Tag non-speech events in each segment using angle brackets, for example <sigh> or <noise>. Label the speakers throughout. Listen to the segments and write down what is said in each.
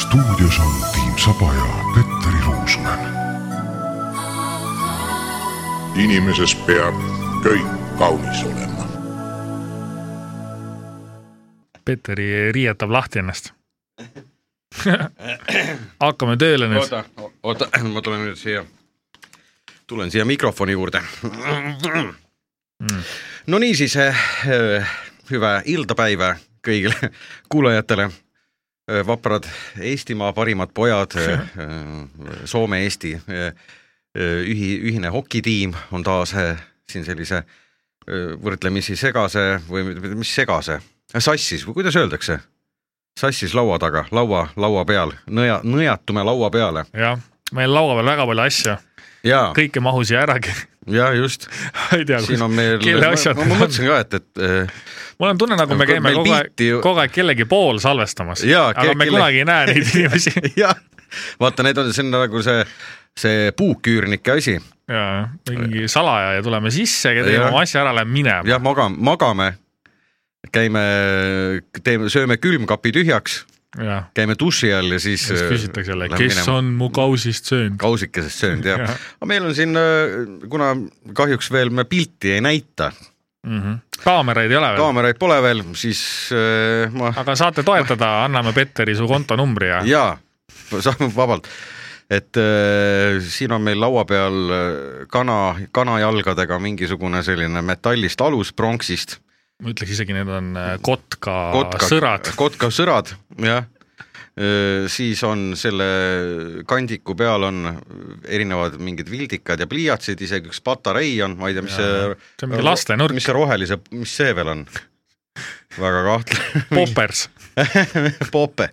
Speaker 1: stuudios on Tiim Saba ja Petteri Ruusmann .
Speaker 2: inimeses peab kõik kaunis olema .
Speaker 3: Peteri riietab lahti ennast . hakkame tööle nüüd .
Speaker 4: oota , oota , <clears throat> ma tulen nüüd siia , tulen siia mikrofoni juurde . no eh, niisiis , hüve ildapäiva kõigile <laughs> kuulajatele . vaprad Eestimaa parimad pojad , eh, Soome-Eesti eh, ühi- , ühine hokitiim on taas eh, siin sellise eh, võrdlemisi segase või mis segase , sassis või kuidas öeldakse ? sassis laua taga , laua , laua peal , nõja , nõjatume laua peale
Speaker 3: jah , meil laua peal väga palju asju ,
Speaker 4: ja ,
Speaker 3: kõike mahu siia äragi . <laughs>
Speaker 4: ja just ,
Speaker 3: ei tea ,
Speaker 4: siin on meil ,
Speaker 3: kelle asjad
Speaker 4: ma, ma mõtlesin ka ,
Speaker 3: <laughs>
Speaker 4: et , et eh,
Speaker 3: mul on tunne , nagu me käime
Speaker 4: Meil
Speaker 3: kogu aeg ,
Speaker 4: biiti ju-
Speaker 3: kogu aeg kellegi pool salvestamas .
Speaker 4: Jaa,
Speaker 3: aga
Speaker 4: ke-
Speaker 3: me
Speaker 4: kelle-
Speaker 3: kunagi ei näe
Speaker 4: <laughs>
Speaker 3: neid inimesi .
Speaker 4: jah , vaata , need on siin nagu see , see puuküürnike asi ,
Speaker 3: ja , mingi salaja ja tuleme sisse ja teeme
Speaker 4: Jah.
Speaker 3: oma asja ära , lähme minema .
Speaker 4: jah , magame , magame , käime , teeme , sööme külmkapi tühjaks ,
Speaker 3: ja
Speaker 4: käime duši all ja siis
Speaker 3: siis
Speaker 4: eh,
Speaker 3: küsitakse jälle ,
Speaker 4: lähme
Speaker 3: kes
Speaker 4: minema.
Speaker 3: on mu kausist söönud .
Speaker 4: kausikesest söönud jah
Speaker 3: Jah.
Speaker 4: ja. , aga meil on siin , kuna kahjuks veel me pilti ei näita ,
Speaker 3: Mhm. kaameraid ei ole veel ,
Speaker 4: kaameraid pole veel , siis eh, ma
Speaker 3: aga saate toetada , anname Petteri su kontonumbri ja
Speaker 4: jaa , <laughs> saame vabalt , et äh, siin on meil laua peal äh, kana , kanajalgadega mingisugune selline metallist alus pronksist ,
Speaker 3: ma ütleks isegi , need on äh, kotka, kotka.
Speaker 4: <laughs> kotka
Speaker 3: sõrad .
Speaker 4: kotkasõrad , jah . siis on selle kandiku peal on erinevad mingid vildikad ja pliiatsid , isegi üks patarei on , ma ei tea , mis see
Speaker 3: see on mingi lastenurk ,
Speaker 4: mis see rohelise , mis see veel on ? väga kahtlen- ,
Speaker 3: popers .
Speaker 4: <laughs> pope ,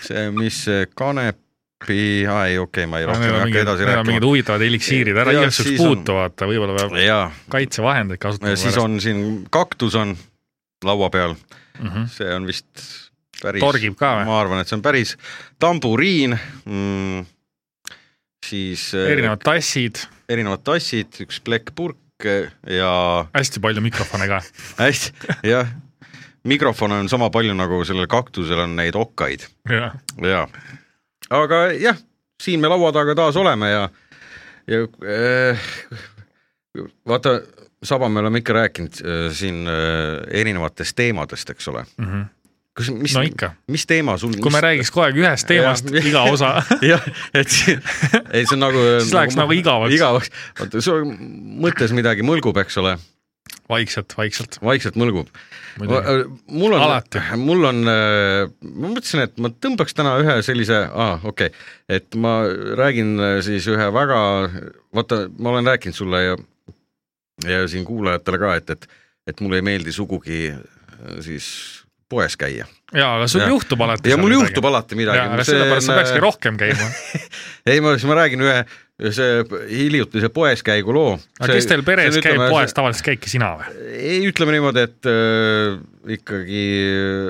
Speaker 4: see , mis see kanepi , aa ei , okei okay, , ma ei rohkem ei hakka edasi
Speaker 3: Noh, mingid
Speaker 4: rääkima .
Speaker 3: huvitavad eliksiirid , ära
Speaker 4: Ja
Speaker 3: igaks juhuks
Speaker 4: siis on-
Speaker 3: puutu vaata , võib-olla peab
Speaker 4: jaa ,
Speaker 3: kaitsevahendeid kasutama .
Speaker 4: siis on siin kaktus on laua peal ,
Speaker 3: mm . -hmm.
Speaker 4: see on vist päris .
Speaker 3: Torgib ka või?
Speaker 4: ma arvan , et see on päris . tamburiin mm, , siis äh,
Speaker 3: erinevad tassid ,
Speaker 4: erinevad tassid , üks plekkpurk äh, ja <laughs>
Speaker 3: hästi palju mikrofone ka .
Speaker 4: hästi , jah , mikrofon on sama palju nagu sellel kaktusel on neid okkaid ja , aga jah , siin me laua taga taas oleme ja , ja äh, vaata , Saba , me oleme ikka rääkinud äh, siin äh, erinevatest teemadest , eks ole . kas ,
Speaker 3: Mhm.
Speaker 4: mis
Speaker 3: no , ikka ,
Speaker 4: mis teema sul
Speaker 3: kui me
Speaker 4: mis...
Speaker 3: räägiks kogu aeg ühest
Speaker 4: <laughs>
Speaker 3: teemast
Speaker 4: Jah.
Speaker 3: iga osa ,
Speaker 4: <laughs>
Speaker 3: <laughs>
Speaker 4: jah , et si- ei , see on nagu
Speaker 3: Siis läheks nagu igavaks.
Speaker 4: igavaks , vaata sul mõttes midagi mõlgub , eks ole ,
Speaker 3: vaikselt , vaikselt .
Speaker 4: vaikselt mõlgub . äh, mul on
Speaker 3: Alati. ,
Speaker 4: <clears throat> mul on , ma mõtlesin , et ma tõmbaks täna ühe sellise , aa , okei okay. , et ma räägin äh, siis ühe väga , vaata , ma olen rääkinud sulle ja , ja siin kuulajatele ka , et , et , et mulle ei meeldi sugugi äh, siis poes käia
Speaker 3: ja , aga sul
Speaker 4: Jah.
Speaker 3: juhtub alati .
Speaker 4: ja mul juhtub alati midagi . äh,
Speaker 3: aga sellepärast sa peakski rohkem
Speaker 4: <laughs>
Speaker 3: käima .
Speaker 4: ei , ma , siis ma räägin ühe , see hiljutise poes käigu loo .
Speaker 3: aga kes teil peres käib poes , tavaliselt käidki sina või ?
Speaker 4: ei , ütleme niimoodi , et äh, ikkagi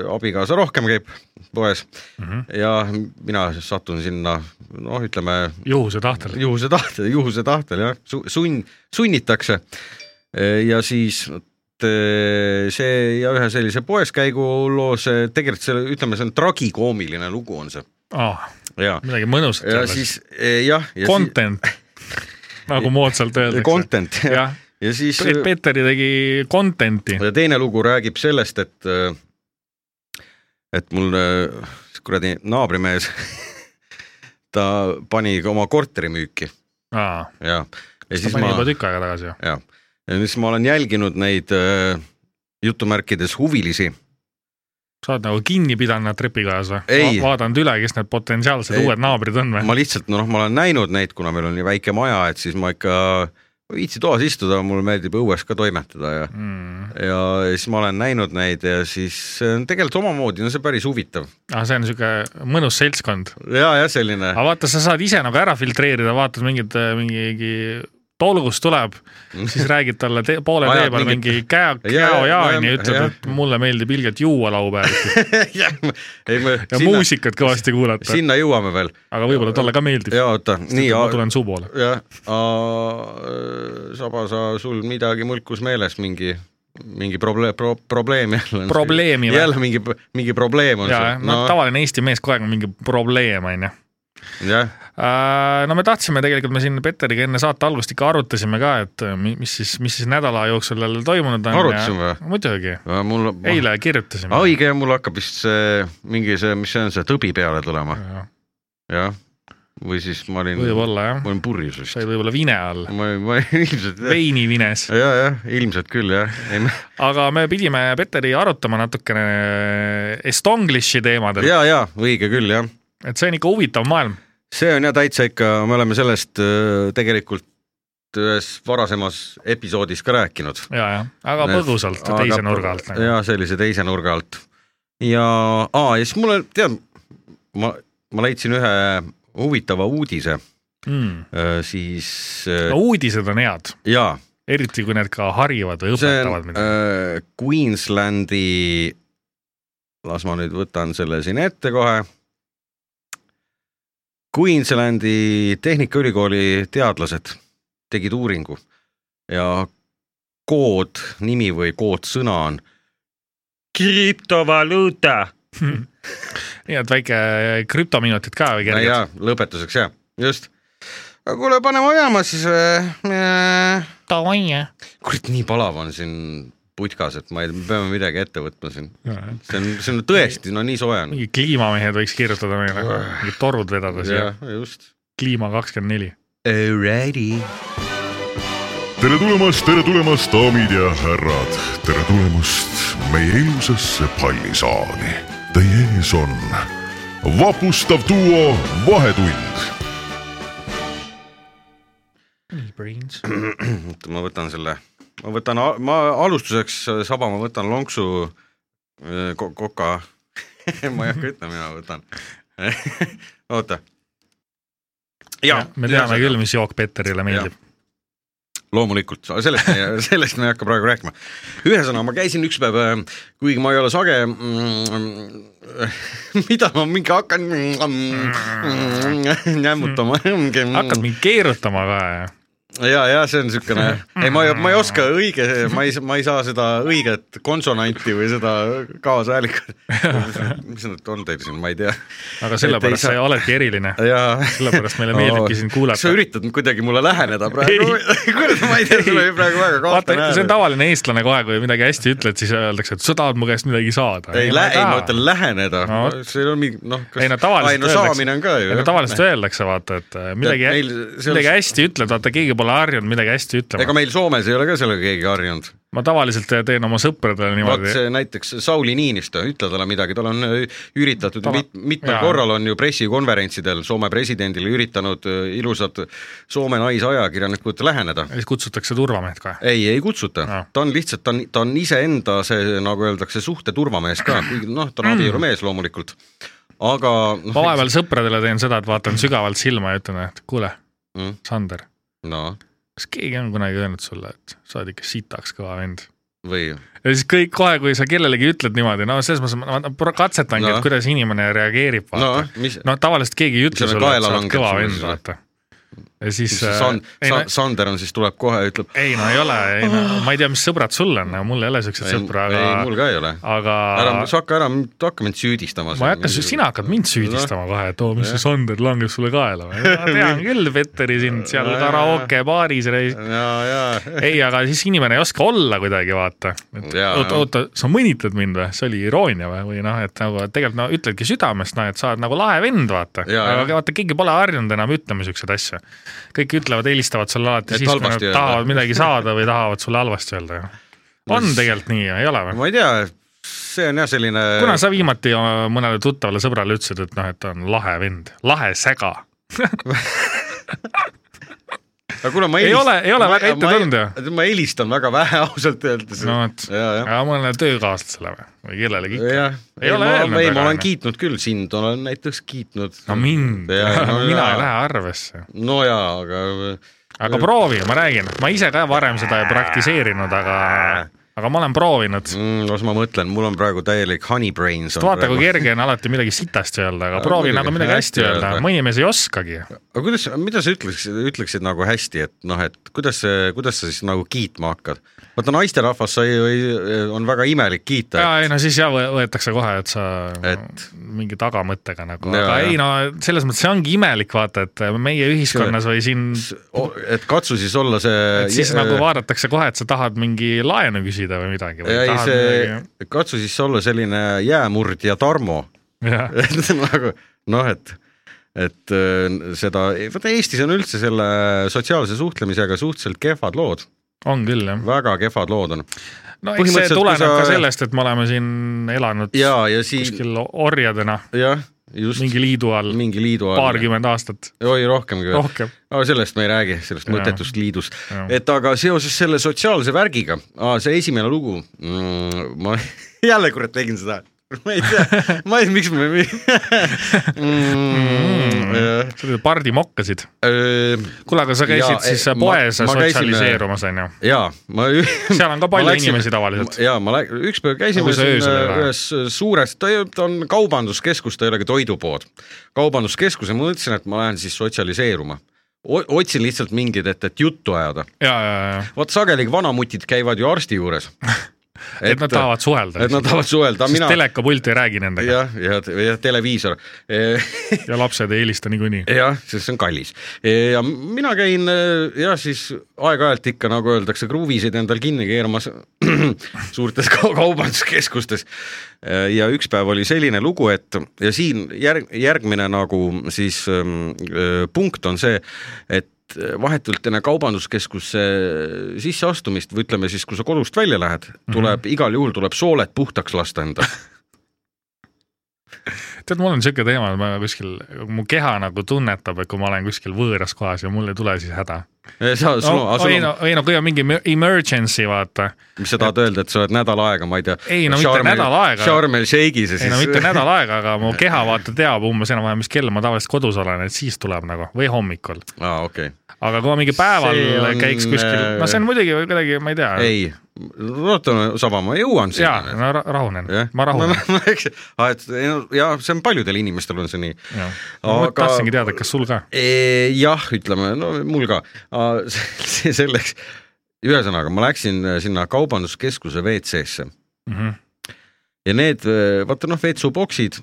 Speaker 4: äh, abikaasa rohkem käib poes mm
Speaker 3: Mhm.
Speaker 4: -hmm. ja mina satun sinna , noh , ütleme
Speaker 3: juhuse tahtel .
Speaker 4: juhuse tahtel , juhuse tahtel jah , sunn , sunnitakse . ja siis vot, eh, see ja ühe sellise poes käigu loo , see tegelikult see , ütleme , see on tragikoomiline lugu on see ja ,
Speaker 3: midagi mõnusat .
Speaker 4: ja siis eh, jah .
Speaker 3: Mm.
Speaker 4: <laughs>
Speaker 3: content , nagu moodsalt öeldakse .
Speaker 4: content ja,
Speaker 3: jah ,
Speaker 4: ja siis
Speaker 3: Peteri tegi content'i .
Speaker 4: ja teine lugu räägib sellest , et äh, et mul äh, kuradi naabrimees ta pani ka oma korteri müüki
Speaker 3: aa ,
Speaker 4: ja , ja
Speaker 3: ta
Speaker 4: siis
Speaker 3: pani
Speaker 4: ma
Speaker 3: juba tükk aega tagasi ju .
Speaker 4: ja , ja siis ma olen jälginud neid äh, jutumärkides huvilisi ,
Speaker 3: sa oled nagu kinni pidanud nad trepikojas või
Speaker 4: Ei. ?
Speaker 3: vaadanud üle , kes need potentsiaalsed
Speaker 4: Ei.
Speaker 3: uued naabrid on või ?
Speaker 4: ma lihtsalt noh , ma olen näinud neid , kuna meil on nii väike maja , et siis ma ikka ma ei viitsi toas istuda , mulle meeldib õues ka toimetada ja
Speaker 3: Mm.
Speaker 4: ja siis ma olen näinud neid ja siis see on tegelikult omamoodi on see päris huvitav
Speaker 3: aga Ah, see on niisugune mõnus seltskond .
Speaker 4: ja , ja selline <laughs>
Speaker 3: aga vaata , sa saad ise nagu ära filtreerida , vaatad mingid , mingi tolgust tuleb , siis räägid talle te poole
Speaker 4: Ajad
Speaker 3: tee peal
Speaker 4: Mm. mingit-
Speaker 3: mingi käe ,
Speaker 4: ja,
Speaker 3: käojaani
Speaker 4: ja,
Speaker 3: ja ütled
Speaker 4: jah. ,
Speaker 3: et mulle meeldib ilgelt juua laupäeval
Speaker 4: jah , ei me
Speaker 3: ja
Speaker 4: sinna,
Speaker 3: muusikat kõvasti kuulata ,
Speaker 4: sinna jõuame veel
Speaker 3: aga võib-olla talle ka meeldib .
Speaker 4: ja oota , nii
Speaker 3: ma , tulen su poole .
Speaker 4: äh, jah , Saba , sa , sul midagi mulkus meeles , mingi mingi probleem pro, , probleem jälle .
Speaker 3: Probleemi või?
Speaker 4: jälle mingi , mingi probleem on
Speaker 3: ja ,
Speaker 4: sul .
Speaker 3: no tavaline Eesti mees kogu aeg on mingi probleem , onju .
Speaker 4: jah ,
Speaker 3: no me tahtsime tegelikult , me siin Peteriga enne saate algust ikka arutasime ka , et äh, mi- mis siis , mis siis nädala jooksul jälle toimunud on .
Speaker 4: Arutasime või?
Speaker 3: muidugi ,
Speaker 4: mul .
Speaker 3: eile kirjutasime .
Speaker 4: aa , õige , mul hakkab vist see mingi see , mis see on , see tõbi peale tulema , jah . või siis ma olin , ma
Speaker 3: võib-olla jah ,
Speaker 4: olin purjus vist .
Speaker 3: sai võib-olla vine all ,
Speaker 4: ma , ma <laughs> ilmselt jah ,
Speaker 3: veinivines ,
Speaker 4: ja , jah , ilmselt küll
Speaker 3: <laughs>
Speaker 4: jah , ei me ,
Speaker 3: aga me pidime Peteri arutama natukene äh, Estonglishi teemadel ,
Speaker 4: ja , ja õige küll jah .
Speaker 3: et see on ikka huvitav maailm .
Speaker 4: see on ja täitsa ikka , me oleme sellest öö, tegelikult ühes varasemas episoodis ka rääkinud
Speaker 3: ja , ja , aga põgusalt
Speaker 4: Aga-
Speaker 3: teise nurga alt nagu. .
Speaker 4: jaa , sellise teise nurga alt . ja , aa ja siis mulle , tead , ma , ma leidsin ühe huvitava uudise ,
Speaker 3: Mm.
Speaker 4: siis äh,
Speaker 3: no uudised on head ,
Speaker 4: jaa ,
Speaker 3: eriti kui need ka harivad või
Speaker 4: see
Speaker 3: õpetavad
Speaker 4: on
Speaker 3: midagi .
Speaker 4: äh, Queenslandi , las ma nüüd võtan selle siin ette kohe . Queenslandi Tehnikaülikooli teadlased tegid uuringu ja kood , nimi või koodsõna on krüptovaluuta
Speaker 3: nii et väike äh, krüptominutid ka või
Speaker 4: no
Speaker 3: kergelt .
Speaker 4: jaa , lõpetuseks jaa , just . aga kuule , paneme ajama siis äh, . kurat , nii palav on siin putkas , et ma ei , me peame midagi ette võtma siin . see on , see on tõesti , no nii soe on .
Speaker 3: mingi kliimamehed võiks kirjutada meile ,
Speaker 4: Ah.
Speaker 3: mingid torud vedada siia ,
Speaker 4: jah , just .
Speaker 3: kliima kakskümmend neli .
Speaker 4: Alrighty .
Speaker 1: tere tulemast , tere tulemast , daamid ja härrad . tere tulemast meie ilusasse pallisaali . Teie ees on vapustav duo Vahetund .
Speaker 4: oota , ma võtan selle , ma võtan , ma alustuseks äh, saba , ma võtan lonksu äh, ko- koka . <laughs> ma ei hakka ütlema , mina võtan . <laughs> oota . jaa . Mm.
Speaker 3: me teame küll , mis jook Peterile meeldib .
Speaker 4: loomulikult , sellest , sellest me <laughs> ei hakka praegu rääkima . ühesõnaga , ma käisin üks päev , kuigi ma ei ole sage mm, , <laughs> mida ma mingi hakkan mm, <laughs> nämmutama . mm,
Speaker 3: hakkad mingi keerutama ka ja ,
Speaker 4: ja , ja see on niisugune ,
Speaker 3: <laughs>
Speaker 4: ei ma , ma ei oska õige , ma ei , ma ei saa seda õiget konsonanti või seda kaasäälikat . <laughs> mis nad on teil siin , ma ei tea .
Speaker 3: aga
Speaker 4: Et ei
Speaker 3: sellepärast
Speaker 4: saa-
Speaker 3: sa oledki eriline .
Speaker 4: ja
Speaker 3: sellepärast meile meeldibki sind kuulata.
Speaker 4: kas sa üritad kuidagi mulle läheneda praegu
Speaker 3: Ei. ?
Speaker 4: <laughs> kurat , ma ei tea , sul oli praegu väga
Speaker 3: vaata ,
Speaker 4: kahtlane
Speaker 3: see on tavaline eestlane kohe , kui midagi hästi ütled , siis öeldakse , et sa tahad mu käest midagi saada .
Speaker 4: ei , ei ma ütlen läheneda
Speaker 3: No
Speaker 4: no,
Speaker 3: vot. ,
Speaker 4: see on mingi noh , kas
Speaker 3: ei no tavaliselt
Speaker 4: no saamine on ka ju .
Speaker 3: ei no tavaliselt öeldakse vaata , et äh, midagi
Speaker 4: Et , meil see
Speaker 3: midagi
Speaker 4: oleks-
Speaker 3: hästi ütled , vaata keegi pole harjunud midagi hästi
Speaker 4: ega
Speaker 3: ütlema .
Speaker 4: meil Soomes ei ole ka sellega keegi harjunud .
Speaker 3: ma tavaliselt teen oma sõpradele
Speaker 4: vot
Speaker 3: niimoodi ,
Speaker 4: see näiteks Sauli Niinistö , ütle talle midagi , tal on öö, üritatud
Speaker 3: Tava-
Speaker 4: Tava... mit, mitmel
Speaker 3: jaa.
Speaker 4: korral on ju pressikonverentsidel Soome presidendile üritanud öö, ilusad Soome naisajakirjanikud läheneda .
Speaker 3: siis kutsutakse turvamehed kohe .
Speaker 4: ei , ei kutsuta
Speaker 3: Aa.
Speaker 4: no. , ta on lihtsalt , ta on , ta on iseenda see , nagu öeldakse , suhte turvamees ka , kuigi noh , ta on abielumees loomulikult , aga noh,
Speaker 3: ma Mm. vahepeal sõpradele teen seda , et vaatan sügavalt silma ja ütlen , et kuule
Speaker 4: Mm. , noh,
Speaker 3: Sander ,
Speaker 4: no
Speaker 3: kas keegi on kunagi öelnud sulle , et sa oled ikka sitaks kõva vend ?
Speaker 4: või
Speaker 3: ja siis kõik kohe , kui sa kellelegi ütled niimoodi , no selles mõttes ma ma pro- katsetangi no. ,
Speaker 4: No.
Speaker 3: et kuidas inimene reageerib ,
Speaker 4: no
Speaker 3: vaata no. .
Speaker 4: noh, mis
Speaker 3: no tavaliselt keegi ei ütle
Speaker 4: Selle
Speaker 3: sulle , et
Speaker 4: kaela
Speaker 3: sa oled
Speaker 4: langeb
Speaker 3: kõva
Speaker 4: sulle
Speaker 3: vend ,
Speaker 4: siis või?
Speaker 3: vaata . ja siis
Speaker 4: siis San- ,
Speaker 3: äh, ei,
Speaker 4: Sa- ,
Speaker 3: no,
Speaker 4: Sander on siis tuleb kohe ja ütleb
Speaker 3: ei no ei ole , ei no ma ei tea , mis sõbrad sul on , mul ei ole siukseid
Speaker 4: ei ,
Speaker 3: sõpru ,
Speaker 4: ei mul
Speaker 3: aga ,
Speaker 4: ka ei ole .
Speaker 3: aga
Speaker 4: ära , sa hakka ära , hakka mind süüdistama .
Speaker 3: ma ei hakka , sina hakkad mind süüdistama kohe , et oo , mis see Sander langeb sulle kaela või ? ma tean küll Petteri sind seal
Speaker 4: Nojah.
Speaker 3: karaoke baaris reis .
Speaker 4: ja , ja ,
Speaker 3: ei , aga siis inimene ei oska olla kuidagi , vaata .
Speaker 4: Jaa.
Speaker 3: oota , oota , sa mõnitad mind või , see oli iroonia või , või noh , et nagu et tegelikult no ütledki südamest , noh , et sa oled nagu lahe vend , vaata .
Speaker 4: Jaa,
Speaker 3: aga
Speaker 4: jaa.
Speaker 3: vaata , keegi pole harjunud enam ütlema siukseid asju . kõik ütlevad , eelistavad sulle alati
Speaker 4: Et
Speaker 3: siis , kui nad
Speaker 4: halvasti öelda.
Speaker 3: tahavad midagi saada või tahavad sulle halvasti öelda . on
Speaker 4: s-
Speaker 3: tegelikult nii , ei ole või ?
Speaker 4: ma ei tea , see on jah selline .
Speaker 3: kuna sa viimati oma mõnele tuttavale sõbrale ütlesid , et noh , et ta on lahe vend , lahe sega .
Speaker 4: aga kuna ma
Speaker 3: ei ole- ei ole väga ette tulnud
Speaker 4: ju . ma helistan väga vähe <laughs> ausalt öeldes .
Speaker 3: no vot ,
Speaker 4: ja , ja ,
Speaker 3: aga mõnele töökaaslasele või , või kellelegi ikka .
Speaker 4: jah .
Speaker 3: Ei ole öelnud
Speaker 4: ei ,
Speaker 3: väga,
Speaker 4: ma olen
Speaker 3: onju.
Speaker 4: kiitnud küll sind , olen näiteks kiitnud .
Speaker 3: <laughs> no mind ,
Speaker 4: Jaa, no
Speaker 3: mina
Speaker 4: jaa.
Speaker 3: ei lähe arvesse .
Speaker 4: no jaa , aga
Speaker 3: aga proovi , ma räägin , ma ise ka varem seda ei praktiseerinud , aga , aga ma olen proovinud .
Speaker 4: mm, . las ma mõtlen , mul on praegu täielik honey brains .
Speaker 3: vaata , kui . kerge on alati midagi sitast öelda , aga
Speaker 4: Aga
Speaker 3: proovi
Speaker 4: muidugi,
Speaker 3: nagu midagi hästi
Speaker 4: hästi
Speaker 3: öelda
Speaker 4: öelda. ,
Speaker 3: mõni mees ei oskagi .
Speaker 4: aga kuidas , mida sa ütleksid , ütleksid nagu hästi , et noh , et kuidas , kuidas sa siis nagu kiitma hakkad ? vaata naisterahvas , sa ei, ei , on väga imelik kiita .
Speaker 3: ja ei no siis jah , võetakse kohe , et sa et...
Speaker 4: Et-
Speaker 3: mingi tagamõttega nagu ,
Speaker 4: Jaa,
Speaker 3: aga
Speaker 4: jah.
Speaker 3: ei no selles mõttes see ongi imelik , vaata , et meie ühiskonnas või siin ,
Speaker 4: et katsu siis olla see .
Speaker 3: et siis nagu vaadatakse kohe , et sa tahad mingi laenu küsida või midagi .
Speaker 4: ei , see , katsu siis olla selline jäämurdja Tarmo . <laughs>
Speaker 3: jah ,
Speaker 4: nagu noh , et , et äh, seda , vaata Eestis on üldse selle sotsiaalse suhtlemisega suhteliselt kehvad lood ,
Speaker 3: on küll jah .
Speaker 4: väga kehvad lood on .
Speaker 3: no eks see
Speaker 4: põhimõtteliselt, kui
Speaker 3: tuleneb
Speaker 4: sa-
Speaker 3: ka sellest , et me oleme siin elanud
Speaker 4: ja , ja siis
Speaker 3: kuskil orjadena
Speaker 4: jah , just
Speaker 3: mingi liidu all
Speaker 4: mingi liidu all .
Speaker 3: paarkümmend aastat
Speaker 4: oi , rohkemgi veel .
Speaker 3: rohkem .
Speaker 4: aga sellest me ei räägi , sellest
Speaker 3: Jaa.
Speaker 4: mõttetust liidust
Speaker 3: Jaa. .
Speaker 4: et aga seoses selle sotsiaalse värgiga , see esimene lugu mm, , ma <laughs> jälle kurat tegin seda , ma ei tea , ma ei , miks me <laughs> mm, . jah.
Speaker 3: sa olid pardimokkasid .
Speaker 4: Öö,
Speaker 3: kuule , aga sa käisid ja,
Speaker 4: Jaa,
Speaker 3: siis
Speaker 4: ei, ma-
Speaker 3: poes
Speaker 4: ma käisin- äh,
Speaker 3: sotsialiseerumas , onju .
Speaker 4: jaa , ma
Speaker 3: seal on ka palju inimesi tavaliselt.
Speaker 4: jaa , ma läk- , üks päev
Speaker 3: Nagu
Speaker 4: käisime
Speaker 3: sa
Speaker 4: siin
Speaker 3: öösel ei
Speaker 4: äh,
Speaker 3: lähe.
Speaker 4: ühes suures , ta ei- ta on kaubanduskeskus , ta ei ole ka toidupood . kaubanduskeskus ja ma mõtlesin , et ma lähen siis sotsialiseeruma . otsin lihtsalt mingeid , et , et juttu ajada .
Speaker 3: ja , ja , ja ,
Speaker 4: vot sageli vanamutid käivad ju arsti juures .
Speaker 3: <laughs> et nad tahavad suhelda .
Speaker 4: et nad tahavad suhelda ,
Speaker 3: siis
Speaker 4: mina
Speaker 3: mina... telekapult ei räägi nendega ja,
Speaker 4: jah , ja , ja televiisor <laughs> Eh,
Speaker 3: ja lapsed ei helista niikuinii .
Speaker 4: jah , sest see on kallis . ja mina käin eh, jah , siis aeg-ajalt ikka , nagu öeldakse , kruvisid endal kinni keeramas <clears throat> suurtes kau- kaubanduskeskustes . ja üks päev oli selline lugu , et ja siin järg , järgmine nagu siis ähm, äh, punkt on see , et vahetult enne kaubanduskeskusse sisseastumist või ütleme siis , kui sa kodust välja lähed , tuleb mm -hmm. igal juhul tuleb sooled puhtaks lasta endal . <laughs>
Speaker 3: tead , mul on siuke teema , et ma kuskil , mu keha nagu tunnetab , et kui ma olen kuskil võõras kohas ja mul ei tule siis häda .
Speaker 4: sa , sul on , sul
Speaker 3: ei
Speaker 4: on
Speaker 3: no , ei no kui on mingi me- emergency , vaata .
Speaker 4: mis sa tahad öelda , et sa oled nädal aega , ma ei tea .
Speaker 3: Ei, no mitte nädal aega.
Speaker 4: Sharm el Sheikis ja
Speaker 3: ei
Speaker 4: siis .
Speaker 3: no mitte nädal aega , aga mu keha vaata teab umbes enam-vähem , mis kell ma tavaliselt kodus olen , et siis tuleb nagu või hommikul .
Speaker 4: <laughs> aa , okei ,
Speaker 3: aga kui ma mingi päeval
Speaker 4: See on,
Speaker 3: käiks kuskil , no see on muidugi kuidagi , ma ei tea .
Speaker 4: ei , oota , Saba , ma jõuan
Speaker 3: jaa ,
Speaker 4: sinna .
Speaker 3: no ra- rahunen , ma rahunen .
Speaker 4: <laughs> aa , et ei no jaa , see on paljudel inimestel on see nii . <laughs>
Speaker 3: jah , ma aga...
Speaker 4: Aga- E,
Speaker 3: tahtsingi teada , kas sul ka ?
Speaker 4: jah , ütleme , no mul ka , <laughs> see selleks , ühesõnaga ma läksin äh, sinna kaubanduskeskuse WC-sse
Speaker 3: Mm -hmm.
Speaker 4: ja need , vaata noh , vetsuboksid ,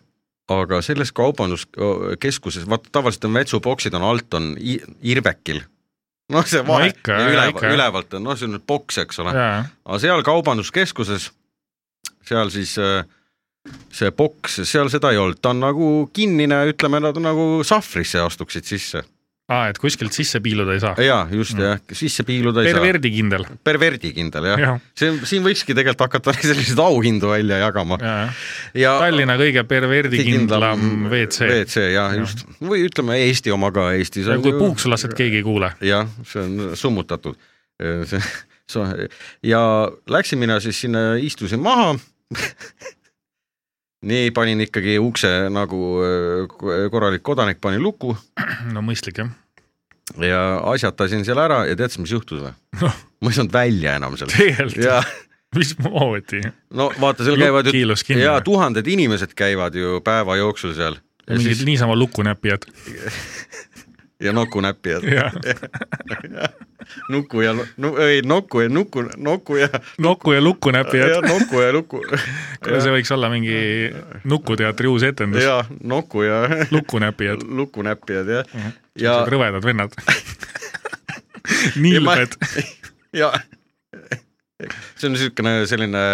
Speaker 4: aga selles kaubanduskeskuses , vaata tavaliselt on vetsuboksid on alt on i- irvekil . noh , see
Speaker 3: No
Speaker 4: vahe
Speaker 3: ikka, jah,
Speaker 4: üleval
Speaker 3: ikka, , jah.
Speaker 4: ülevalt on noh , see on nüüd boks , eks ole ,
Speaker 3: jaa ,
Speaker 4: aga seal kaubanduskeskuses , seal siis äh, see boks , seal seda ei olnud , ta on nagu kinnine , ütleme , nad on nagu sahvrisse astuksid sisse .
Speaker 3: aa , et kuskilt sisse piiluda ei saa .
Speaker 4: jaa , just mm. jah , sisse piiluda ei saa .
Speaker 3: perverdikindel ,
Speaker 4: perverdikindel jah ja.
Speaker 3: jah ,,
Speaker 4: see , siin võikski tegelikult hakata <laughs> selliseid auhindu välja jagama
Speaker 3: jaa , jah .
Speaker 4: ja
Speaker 3: Tallinna kõige perverdikindlam WC .
Speaker 4: WC jah , just , või ütleme Eesti oma ka Eestis .
Speaker 3: kui puuksu lased , keegi ei kuule .
Speaker 4: jah , see on summutatud . see , see ja läksin mina siis sinna , istusin maha . <laughs> nii panin ikkagi ukse nagu äh, korralik kodanik pani luku
Speaker 3: no mõistlik
Speaker 4: <laughs>
Speaker 3: jah .
Speaker 4: ja asjatasin seal ära ja tead sa , mis juhtus või ? ma ei saanud välja enam sealt .
Speaker 3: Noh. tegelikult ,
Speaker 4: ja
Speaker 3: mismoodi ?
Speaker 4: no vaata , seal
Speaker 3: Lukk
Speaker 4: käivad ju
Speaker 3: kiilus kinni.
Speaker 4: ja tuhanded inimesed käivad ju päeva jooksul seal ja,
Speaker 3: mingid
Speaker 4: siis,
Speaker 3: niisama lukunäpijad ,
Speaker 4: <laughs> ja nokunäppijad .
Speaker 3: jah .
Speaker 4: nuku ja nu, , ei noku ja nuku , noku ja ,
Speaker 3: nuku ja
Speaker 4: ja
Speaker 3: lukunäpijad .
Speaker 4: noku ja
Speaker 3: <laughs>
Speaker 4: luku
Speaker 3: kuule , see võiks olla mingi Nukuteatri uus etendus ,
Speaker 4: ja noku ja
Speaker 3: lukunäpijad .
Speaker 4: <laughs> lukunäppijad jah ,
Speaker 3: Mhm.
Speaker 4: <laughs> ja ,
Speaker 3: rõvedad vennad . <laughs> nilbed ,
Speaker 4: <laughs> ja see on niisugune selline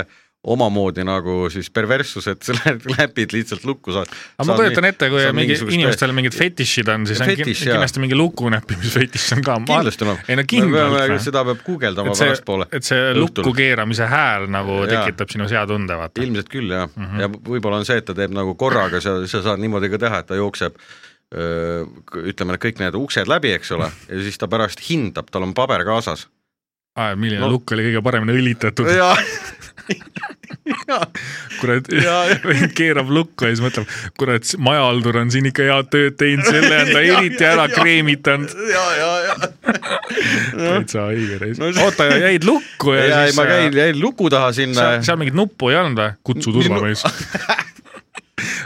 Speaker 4: omamoodi nagu siis perverssus , et sa lähed , läpid lihtsalt lukku saad .
Speaker 3: aga ma kujutan ette , kui mingi inimestel mingid fetišid on , siis on kin-
Speaker 4: Fetiš, jaa.
Speaker 3: kindlasti mingi lukunäppimise fetiš on ka .
Speaker 4: kindlasti on . nagu
Speaker 3: ei no kindlalt .
Speaker 4: seda peab guugeldama
Speaker 3: et see
Speaker 4: pärastpoole ,.
Speaker 3: et see lukku
Speaker 4: õhtul.
Speaker 3: keeramise hääl nagu
Speaker 4: Jaa.
Speaker 3: tekitab sinus hea tunde , vaata .
Speaker 4: ilmselt küll jah mm ,
Speaker 3: Mhm.
Speaker 4: -hmm. ja võib-olla on see , et ta teeb nagu korraga , sa , sa saad niimoodi ka teha , et ta jookseb öö, k- ütleme , kõik need uksed läbi , eks ole , ja siis ta pärast hindab , tal on paber kaasas .
Speaker 3: milline
Speaker 4: No.
Speaker 3: lukk oli kõige paremini õlitatud ,
Speaker 4: ja ,
Speaker 3: kurat
Speaker 4: Jaa, ,
Speaker 3: <laughs> keerab lukku ja siis mõtleb , kurat , majaldur on siin ikka head tööd teinud , selle on ta
Speaker 4: Jaa,
Speaker 3: eriti
Speaker 4: jaa,
Speaker 3: ära
Speaker 4: jaa.
Speaker 3: kreemitanud .
Speaker 4: ja , ja , ja
Speaker 3: täitsa õige täis
Speaker 4: No
Speaker 3: no, .
Speaker 4: see-
Speaker 3: oota , jäid lukku ja,
Speaker 4: ja ei ,
Speaker 3: siis äh,
Speaker 4: ma käin , jäin äh, luku taha sinna
Speaker 3: seal, . seal mingit nuppu ei olnud või ? kutsu turvamees .
Speaker 4: <laughs>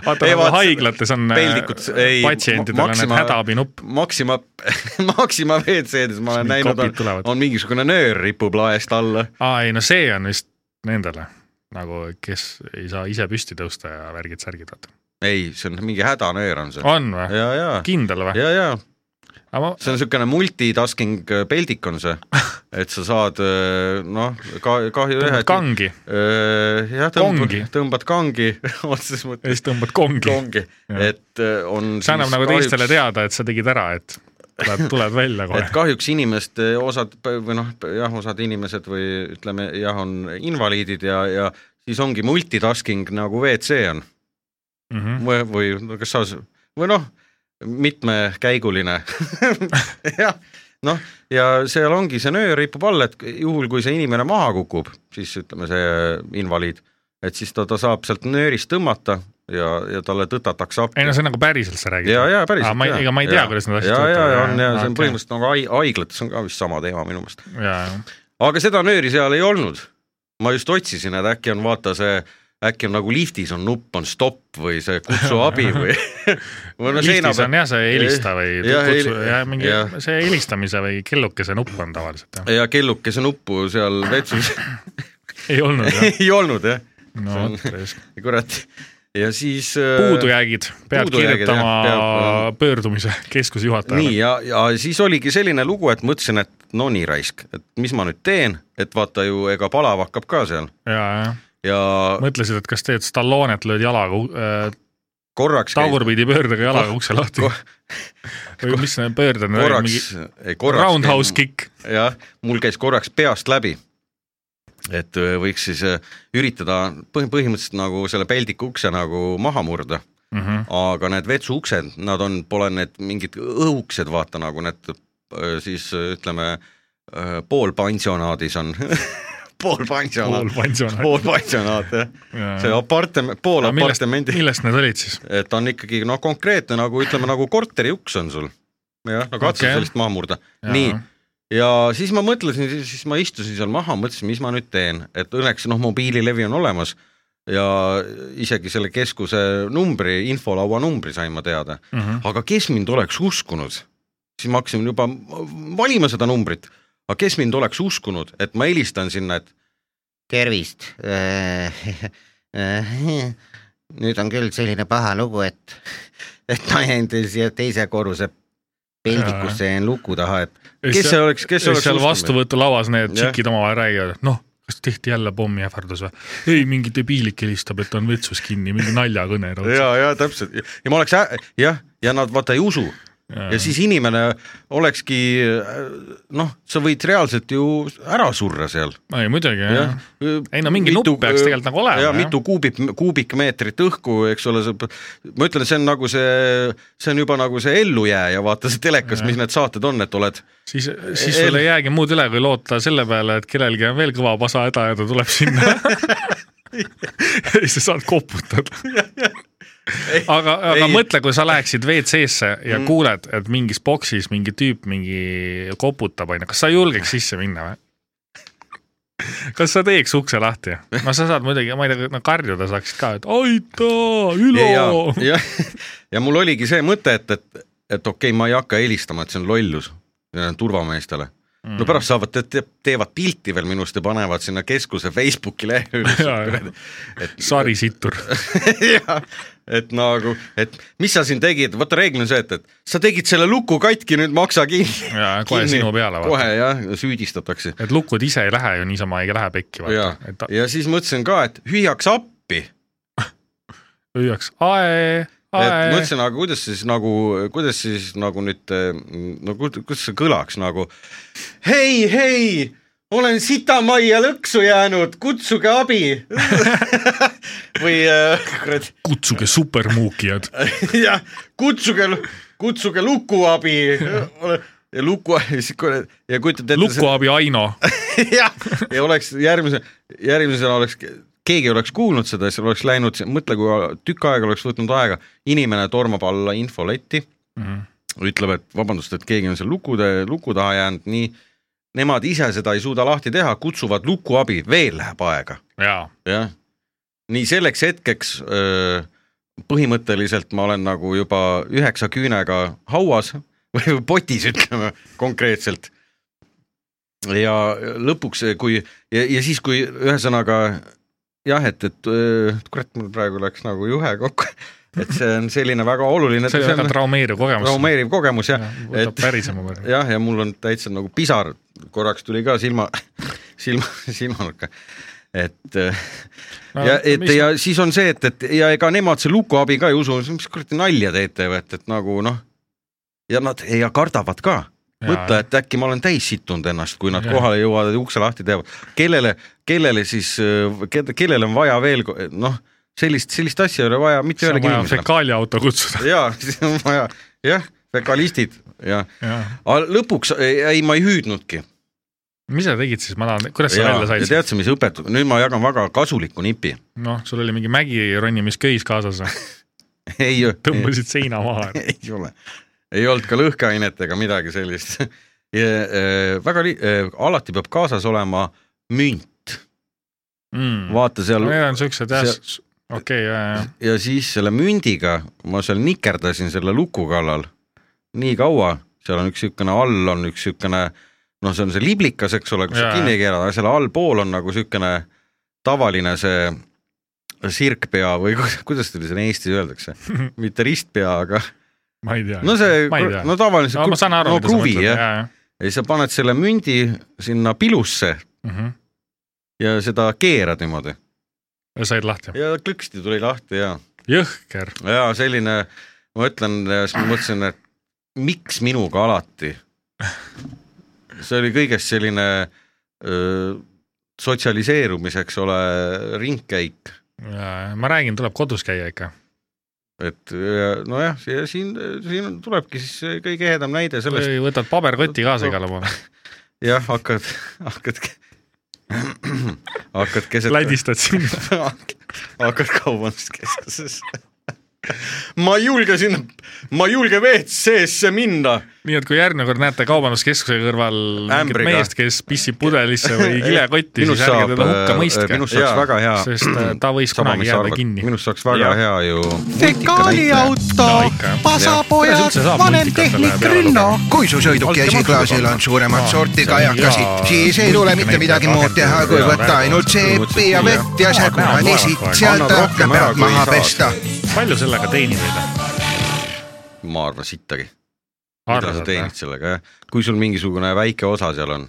Speaker 3: vaata
Speaker 4: Ei,
Speaker 3: nagu
Speaker 4: vaat-
Speaker 3: haiglates on äh,
Speaker 4: peldikud ei-
Speaker 3: patsientidel on need
Speaker 4: Maxima-
Speaker 3: hädaabinupp .
Speaker 4: Maxima , <laughs> Maxima WC-des ma olen
Speaker 3: Mingid
Speaker 4: näinud ,
Speaker 3: kopid
Speaker 4: on,
Speaker 3: tulevad.
Speaker 4: on mingisugune nöör ripub laest alla .
Speaker 3: aa ei no see on vist nendele nagu , kes ei saa ise püsti tõusta ja värgid-särgid , vaata .
Speaker 4: ei , see on mingi hädanöör on see .
Speaker 3: on või ?
Speaker 4: ja , ja ,
Speaker 3: kindel või ?
Speaker 4: ja , ja
Speaker 3: aga ma ,
Speaker 4: see on niisugune multitasking äh, peldik on
Speaker 3: <laughs>
Speaker 4: see , et sa saad äh, noh , ka kahju ühe
Speaker 3: tõmbad . kangi
Speaker 4: Äh, jah ,
Speaker 3: Kongi.
Speaker 4: tõmbad , tõmbad kangi <laughs> otseses
Speaker 3: ja
Speaker 4: mõttes
Speaker 3: siis tõmbad kongi .
Speaker 4: kongi ,
Speaker 3: Jah.
Speaker 4: et äh, on .
Speaker 3: see annab nagu teistele . teada , et sa tegid ära , et tuled ,
Speaker 4: <laughs>
Speaker 3: tuled välja kohe
Speaker 4: et . kahjuks inimeste osad p- või noh , jah , osad inimesed või ütleme jah , on invaliidid ja , ja siis ongi multitasking nagu WC on
Speaker 3: Mm -hmm.
Speaker 4: või , või no kas sa , või noh ,
Speaker 3: <laughs>
Speaker 4: mitmekäiguline . jah , noh , ja seal ongi see nöör ripub all , et juhul , kui see inimene maha kukub , siis ütleme , see invaliid , et siis ta , ta saab sealt nöörist tõmmata ja , ja talle tõtatakse
Speaker 3: ei
Speaker 4: appi
Speaker 3: no . see on nagu päriselt sa räägid .
Speaker 4: ja , ja päriselt .
Speaker 3: ma ei , ega ma ei tea , kuidas need asjad
Speaker 4: ja , ja , ja on ja see
Speaker 3: Okei.
Speaker 4: on põhimõtteliselt nagu hai- haiglates on ka vist sama teema minu meelest .
Speaker 3: ja , ja.
Speaker 4: aga seda nööri seal ei olnud . ma just otsisin , et äkki on vaata see , äkki on nagu liftis on nupp on stopp või see kutsu
Speaker 3: <laughs>
Speaker 4: abi või <laughs> või
Speaker 3: no, . liftis on jah see helista või
Speaker 4: Jah,
Speaker 3: jah, kutsu
Speaker 4: heli-
Speaker 3: ja mingi
Speaker 4: jah.
Speaker 3: see helistamise või kellukese nupp on tavaliselt jah ,
Speaker 4: ja kellukese nuppu seal vetsus <laughs>
Speaker 3: ei olnud jah ,
Speaker 4: ei olnud jah ,
Speaker 3: <laughs> no
Speaker 4: See on-
Speaker 3: vot raisk.
Speaker 4: kurat . ja siis . äh,
Speaker 3: puudujäägid , pead
Speaker 4: puudujäägid, jah,
Speaker 3: kirjutama
Speaker 4: peab-
Speaker 3: pöördumise keskuse
Speaker 4: nii
Speaker 3: juhatajale .
Speaker 4: ja , ja siis oligi selline lugu , et mõtlesin , et no nii raisk , et mis ma nüüd teen , et vaata ju ega palav hakkab ka seal
Speaker 3: ja , ja
Speaker 4: ja
Speaker 3: mõtlesid , et kas teed Stallonet , lööd jalaga äh, ,
Speaker 4: korraks käis-
Speaker 3: tagurpidi pöördega jalaga ukse lahti
Speaker 4: ko- .
Speaker 3: või mis see pöörd on , mingi
Speaker 4: korraks , ei korraks .
Speaker 3: roundhouse . kick .
Speaker 4: jah , mul käis korraks peast läbi . et öö, võiks siis öö, üritada põhi- põhimõtteliselt nagu selle peldiku ukse nagu maha murda ,
Speaker 3: Mm -hmm.
Speaker 4: aga need vetsuuksed , nad on , pole need mingid õhuksed , vaata nagu need öö, siis öö, ütleme öö, poolpansionaadis on . <laughs>
Speaker 3: pool
Speaker 4: poolpansionaat ,
Speaker 3: pansionaat .
Speaker 4: poolpansionaat jah , see apartament , pool
Speaker 3: Äh. millest ,
Speaker 4: apartamendi ,
Speaker 3: millest need olid siis ?
Speaker 4: et on ikkagi noh , konkreetne nagu ütleme nagu korteri uks on sul . jah , no katsu
Speaker 3: Okei.
Speaker 4: okay. sellist maha murda , nii ja siis ma mõtlesin , siis ma istusin seal maha , mõtlesin , mis ma nüüd teen , et õnneks noh , mobiililevi on olemas ja isegi selle keskuse numbri , infolaua numbri sain ma teada ,
Speaker 3: mm . -hmm.
Speaker 4: aga kes mind oleks uskunud , siis ma hakkasin juba valima seda numbrit , aga kes mind oleks uskunud , et ma helistan sinna , et äh,
Speaker 5: tervist .
Speaker 4: <laughs>
Speaker 5: nüüd on küll selline paha lugu , et ,
Speaker 4: et ma jäin teil siia teise korruse peldikusse , jäin luku taha , et
Speaker 3: Ja
Speaker 4: kes
Speaker 3: siis
Speaker 4: see oleks , kes see
Speaker 3: seal,
Speaker 4: oleks
Speaker 3: seal
Speaker 4: uskunud ,
Speaker 3: vastuvõtulauas need
Speaker 4: Jah.
Speaker 3: tšikid omavahel räägivad , et noh , kas tehti jälle pommiähvardus või ? ei , mingi debiilik helistab , et on vetsus kinni , mingi naljakõne .
Speaker 4: ja , ja täpselt ja ma oleks ä- jah , ja nad vaata ei usu ja siis inimene olekski noh , sa võid reaalselt ju ära surra seal .
Speaker 3: ei muidugi , jah . Ei no mingi nupp peaks tegelikult nagu olema,
Speaker 4: ja
Speaker 3: jah.
Speaker 4: mitu kuubik , kuubikmeetrit õhku , eks ole , ma ütlen , see on nagu see , see on juba nagu see ellujääja , vaata see telekas , mis need saated on , et oled
Speaker 3: siis , siis sul ei jäägi muud üle , kui loota selle peale , et kellelgi on veel kõva pasa häda ja ta tuleb sinna . ei , sa saad koputada . aga , aga
Speaker 4: ei.
Speaker 3: mõtle , kui sa läheksid WC-sse ja kuuled , et mingis boksis mingi tüüp mingi koputab , onju , kas sa julgeks sisse minna või ? kas sa teeks ukse lahti ? no sa saad muidugi , ma ei tea , no karjuda saaksid ka , et aita ,
Speaker 4: ja ,
Speaker 3: Ülo .
Speaker 4: ja , <laughs> ja mul oligi see mõte , et , et , et okei okay, , ma ei hakka helistama , et see on lollus ja turvameestele mm. . no pärast saavad te, , te, teevad pilti veel minust ja panevad sinna keskuse
Speaker 3: <laughs>
Speaker 4: Facebooki
Speaker 3: Jaa,
Speaker 4: lehele <laughs>
Speaker 3: jaa. . sarisittur .
Speaker 4: jah , et nagu , et mis sa siin tegid , vaata reeglina on see , et , et sa tegid selle luku katki , nüüd maksa kinni .
Speaker 3: ja Äh, kohe
Speaker 4: Kinni.
Speaker 3: sinu peale vaata .
Speaker 4: kohe jah , süüdistatakse
Speaker 3: et lukud ise ei lähe ju niisama , ei lähe pekki ,
Speaker 4: ja
Speaker 3: vaata ., et
Speaker 4: ja siis mõtlesin ka , et hüüaks appi ,
Speaker 3: hüüaks ae ,
Speaker 4: et
Speaker 3: ae .
Speaker 4: mõtlesin , aga kuidas siis nagu , kuidas siis nagu nüüd , no ku- kuidas see kõlaks nagu hei , hei , olen sitamajja lõksu jäänud , kutsuge abi <laughs> või äh, kurat , <laughs>
Speaker 3: kutsuge supermuukijad .
Speaker 4: jah , kutsuge , kutsuge
Speaker 3: <laughs>
Speaker 4: lukuabi . ja luku , ja kujutad ette ,
Speaker 3: lukuabi
Speaker 4: <laughs>
Speaker 3: Aino .
Speaker 4: jah , ja oleks järgmise , järgmisena oleks , keegi oleks kuulnud seda , siis oleks
Speaker 3: Mhm.
Speaker 4: läinud , mõtle , kui tükk aega oleks võtnud aega , inimene tormab alla infoletti ütleb , et vabandust , et keegi on seal lukude , luku taha jäänud , nii nemad ise seda ei suuda lahti teha , kutsuvad lukuabi , veel läheb aega ,
Speaker 3: jaa ,
Speaker 4: jah . nii selleks hetkeks öö, põhimõtteliselt ma olen nagu juba üheksa küünega hauas <laughs> või potis , ütleme konkreetselt . ja lõpuks , kui ja, ja siis , kui ühesõnaga jah , et , et öö, kurat , mul praegu läks nagu juhe kokku , et see on selline väga oluline .
Speaker 3: see oli väga traumeeriv kogemus .
Speaker 4: traumeeriv kogemus jah ,
Speaker 3: võtab
Speaker 4: et-
Speaker 3: pärisema kogemus .
Speaker 4: jah , ja mul on täitsa nagu pisar korraks tuli ka silma , <laughs> silma , silmanurka , et no, ja et mis... ja siis on see , et , et ja ega nemad see lukuabi ka ei usu , mis kuradi nalja teete või et , et nagu noh , ja nad ja kardavad ka , mõtle ,, et äkki ma olen täis sittunud ennast , kui nad
Speaker 3: Jah.
Speaker 4: ja. kohale jõuavad ja ukse lahti teevad , kellele , kellele siis , kellele on vaja veel ko- noh , sellist , sellist asja ei ole vaja mitte
Speaker 3: see on
Speaker 4: ühelegi
Speaker 3: vaja
Speaker 4: inimesele .
Speaker 3: fekaaliauto
Speaker 4: <laughs>
Speaker 3: kutsuda .
Speaker 4: jaa , siis on vaja , jah , fekalistid ja
Speaker 3: jaa ,
Speaker 4: aga lõpuks ei , ma ei hüüdnudki .
Speaker 3: mis sa tegid siis , ma tahan , kuidas sa
Speaker 4: ja
Speaker 3: välja
Speaker 4: ja
Speaker 3: said ?
Speaker 4: tead sa , mis õpetus , nüüd ma jagan väga kasuliku nipi . <laughs>
Speaker 3: noh , sul oli mingi mägironimiskõis kaasas , <laughs>
Speaker 4: ei , ei
Speaker 3: tõmbasid seina
Speaker 4: <laughs>
Speaker 3: maha .
Speaker 4: ei ole , ei olnud ka lõhkeainet ega midagi sellist . <laughs> väga li- , alati peab kaasas olema münt ,
Speaker 3: Mm. Need
Speaker 4: vaata seal
Speaker 3: on siuksed jah , okei , ja , ja ,
Speaker 4: ja siis selle mündiga ma seal nikerdasin selle luku kallal nii kaua , seal on üks niisugune all on üks niisugune noh , see on see liblikas , eks ole , kus sa
Speaker 3: Jaa,
Speaker 4: kinni keerad , aga selle allpool on nagu niisugune tavaline see sirkpea või <laughs> ku- kuidas teil siin Eestis
Speaker 3: <laughs>
Speaker 4: öeldakse , mitte ristpea , aga
Speaker 3: ma ei tea .
Speaker 4: no see
Speaker 3: ma ei , tea
Speaker 4: no . tavaline see
Speaker 3: no ma saan aru ,
Speaker 4: no
Speaker 3: mida sa
Speaker 4: kruvi
Speaker 3: mõtled ,
Speaker 4: jah ,
Speaker 3: jaa ,
Speaker 4: ja siis sa paned selle mündi sinna pilusse
Speaker 3: jah .
Speaker 4: ja seda keerad niimoodi
Speaker 3: ja said lahti .
Speaker 4: ja klõksti tuli lahti ja
Speaker 3: jõhker ,
Speaker 4: jaa , selline , ma ütlen , siis ma mõtlesin , et miks minuga alati . see oli kõigest selline öö, sotsialiseerumis , eks ole , ringkäik ,
Speaker 3: ma räägin , tuleb kodus käia ikka .
Speaker 4: et öö, nojah , siin , siin on- tulebki siis kõige ehedam näide sellest ,
Speaker 3: võtad paberkotti kaasa igale
Speaker 4: <laughs>
Speaker 3: poole ,
Speaker 4: jah , hakkad , hakkad , <clears throat> hakkad keset
Speaker 3: ladistad sinna .
Speaker 4: <laughs> hakkad kaubanduskeskuses . ma ei julge sinna , ma ei julge WC-sse minna
Speaker 3: nii et kui järgmine kord näete kaubanduskeskuse kõrval mingit
Speaker 4: Ämbriga.
Speaker 3: meest , kes pissib pudelisse või kilekotti , siis
Speaker 4: Eh, Minust
Speaker 3: ärge teda
Speaker 4: saab,
Speaker 3: hukka
Speaker 4: äh,
Speaker 3: mõistke ,
Speaker 4: minust saaks
Speaker 2: Jaa.
Speaker 4: väga hea .
Speaker 3: sest äh, ta
Speaker 4: <clears throat>
Speaker 3: võis
Speaker 4: sama ,
Speaker 3: kunagi
Speaker 4: mis sa
Speaker 3: jääda
Speaker 4: arvad ,
Speaker 3: kinni .
Speaker 4: minust saaks väga
Speaker 2: Jah.
Speaker 4: hea ju .
Speaker 3: Jaa,
Speaker 6: fekaaliauto
Speaker 3: ikka. , Kuidas
Speaker 6: pasapojad
Speaker 3: üldse , saab multikat
Speaker 6: vanemtehnik
Speaker 3: peale
Speaker 6: Rünno
Speaker 3: lugeda? .
Speaker 6: kui su sõiduki
Speaker 4: Altkäemaksu
Speaker 6: esiklaasil on suuremat
Speaker 3: Aa,
Speaker 6: sorti
Speaker 3: see on
Speaker 6: kajakasid
Speaker 3: hea- ,
Speaker 6: siis ei tule mitte midagi muud teha , kui
Speaker 4: Jaa,
Speaker 6: võtta
Speaker 4: väga-
Speaker 6: ainult seepi ja vett ja
Speaker 3: Jaa, näed,
Speaker 6: säkurad
Speaker 3: loevad
Speaker 6: isid
Speaker 3: kogu aeg.
Speaker 6: sealt
Speaker 4: Annad rohkem ära,
Speaker 6: akna pealt
Speaker 4: kui
Speaker 6: maha
Speaker 4: saad.
Speaker 6: pesta .
Speaker 3: palju sellega teenid meile ?
Speaker 4: ma arvan sittagi , mida sa
Speaker 3: arvad ,
Speaker 4: teenid sellega jah , kui sul mingisugune väike osa seal on .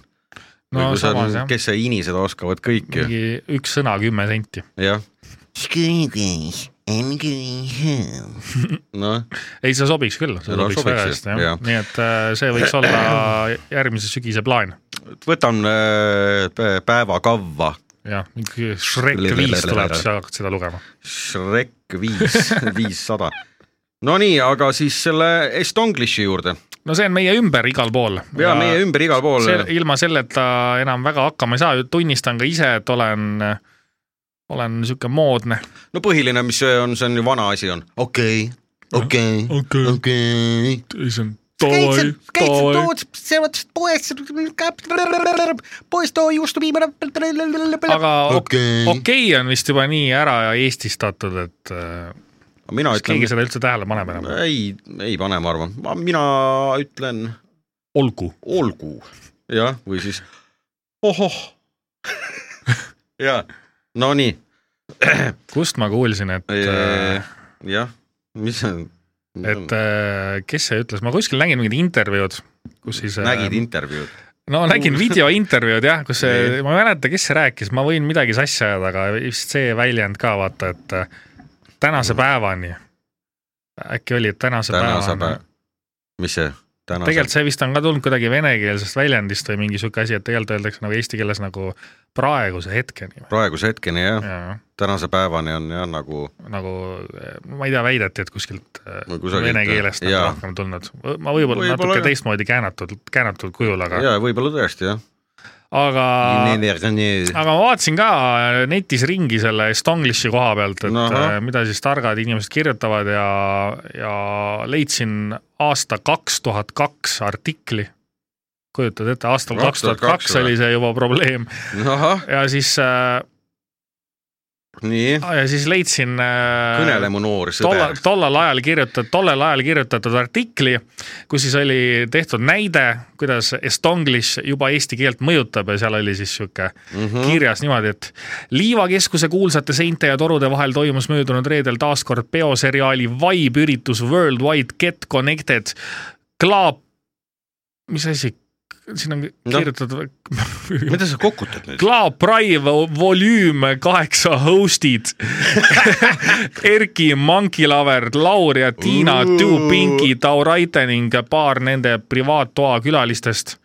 Speaker 3: no samas jah ,
Speaker 4: kes see inised oskavad kõiki
Speaker 3: mingi üks sõna kümme senti .
Speaker 4: jah ,
Speaker 5: Screwdrive, I'm going home .
Speaker 4: <laughs> noh ,
Speaker 3: ei , see sobiks küll , see
Speaker 4: No,
Speaker 3: sobiks
Speaker 4: sobiks
Speaker 3: väga
Speaker 4: ju,
Speaker 3: hästi jah
Speaker 4: jaa. ,
Speaker 3: nii et äh, see võiks olla järgmise sügise plaan .
Speaker 4: võtan äh, pä- päevakavva ,
Speaker 3: jah , mingi Shrek viis tuleb , sa hakkad seda lugema .
Speaker 4: Shrek viis , viissada . Nonii , aga siis selle Estonglishi juurde
Speaker 3: no see on meie ümber igal pool .
Speaker 4: ja meie ümber igal pool
Speaker 3: see, . ilma selleta enam väga hakkama ei saa , tunnistan ka ise , et olen , olen niisugune moodne .
Speaker 4: no põhiline , mis see on , see on ju vana asi on , okei , okei ,
Speaker 3: okei okay. ,
Speaker 4: okei
Speaker 3: siis on
Speaker 6: käid seal , käid seal tood , selles poes , poes too juustu viimane .
Speaker 3: aga okei
Speaker 4: Okei.
Speaker 3: okay on vist juba nii ära eestistatud , et äh,
Speaker 4: Aga mina
Speaker 3: kas keegi
Speaker 4: ütlen ,
Speaker 3: seda üldse tähele paneb enam ?
Speaker 4: ei , ei pane , ma arvan , mina ütlen
Speaker 3: olgu .
Speaker 4: olgu , jah , või siis ohoh . <laughs> ja , no nii ,
Speaker 3: kust ma kuulsin , et ,
Speaker 4: jah , mis on ,
Speaker 3: et äh, kes see ütles , ma kuskil nägin mingid intervjuud , kus siis äh,
Speaker 4: nägid intervjuud ,
Speaker 3: no nägin videointervjuud jah , kus see
Speaker 4: Nii. ,
Speaker 3: ma ei mäleta , kes see rääkis , ma võin midagi sassi ajada , aga vist see väljend ka vaata , et äh, tänase päevani . äkki oli et tänase,
Speaker 4: Mm.
Speaker 3: tänase
Speaker 4: tänase päeva
Speaker 3: päevani .,
Speaker 4: mis see , tänase ,
Speaker 3: tegelikult see vist on ka tulnud kuidagi venekeelsest väljendist või mingi sihuke asi , et tegelikult öeldakse nagu eesti keeles nagu praeguse hetkeni .
Speaker 4: praeguse hetkeni jah ,
Speaker 3: nagu
Speaker 4: tänase päevani on jah nagu ,
Speaker 3: äh, ma ei tea , väideti , et kuskilt äh,
Speaker 4: Või kusagilt,
Speaker 3: vene keelest on
Speaker 4: jaa.
Speaker 3: rohkem tulnud , ma võib-olla
Speaker 4: Võib-olla
Speaker 3: natuke
Speaker 4: jah.
Speaker 3: teistmoodi käänatud , käänatud kujul , aga
Speaker 4: ja võib-olla tõesti jah ,
Speaker 3: aga ,
Speaker 4: aga
Speaker 3: aga ma vaatasin ka äh, netis ringi selle Estonglishi koha pealt , et
Speaker 4: Ahah.
Speaker 3: äh, mida siis targad inimesed kirjutavad ja , ja leidsin aasta kaks tuhat kaks artikli . kujutad ette , aastal kaks
Speaker 4: 2002
Speaker 3: tuhat kaks
Speaker 4: või?
Speaker 3: oli see juba probleem
Speaker 4: ahah ,
Speaker 3: ja siis , ja
Speaker 4: nii ,
Speaker 3: siis leidsin .
Speaker 4: kõnele mu noor
Speaker 3: tollal
Speaker 4: sõber ,,
Speaker 3: tollal ajal kirjutatud , tollel ajal kirjutatud artikli , kus siis oli tehtud näide , kuidas Estonglish juba eesti keelt mõjutab ja seal oli siis sihuke mm
Speaker 4: Mhm.
Speaker 3: -hmm. kirjas niimoodi , et liivakeskuse kuulsate seinte ja torude vahel toimus möödunud reedel taas kord peoseriaali Vibe üritus Worldwide Get Connected Club , mis asi , siin on
Speaker 4: No.
Speaker 3: kirjutatud <laughs> no.
Speaker 4: mida sa kokutad nüüd ?
Speaker 3: Klaab Prime volüüm kaheksa
Speaker 4: <laughs>
Speaker 3: host'id . Erki Mankilaver , Laur ja Tiina
Speaker 4: Ooh.
Speaker 3: Tupinki , Tauraite ning paar nende privaattoa külalistest .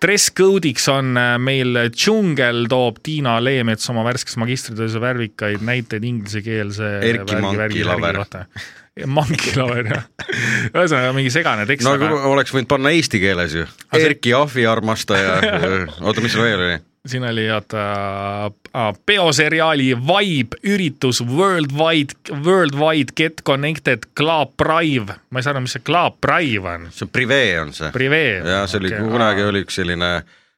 Speaker 3: dresskoodiks on äh, meil džungel , toob Tiina Leemets oma värskes magistritöös värvikaid näiteid inglisekeelse .
Speaker 4: Erki Mankilaver. .
Speaker 3: Mankilaver
Speaker 4: <laughs>
Speaker 3: jah , ühesõnaga mingi segane tekst
Speaker 4: no
Speaker 3: aga-
Speaker 4: aga oleks võinud panna eesti keeles ju .
Speaker 3: see-
Speaker 4: Erki Ahvi armastaja , oota , mis seal veel oli ?
Speaker 3: siin oli vaata ah, peoseriaali Vibe üritus Worldwide , Worldwide Get Connected Club Prive , ma ei saa aru , mis see Club Prive on ,
Speaker 4: see on Prive on see .
Speaker 3: Prive .
Speaker 4: ja see oli okay, , kunagi oli üks selline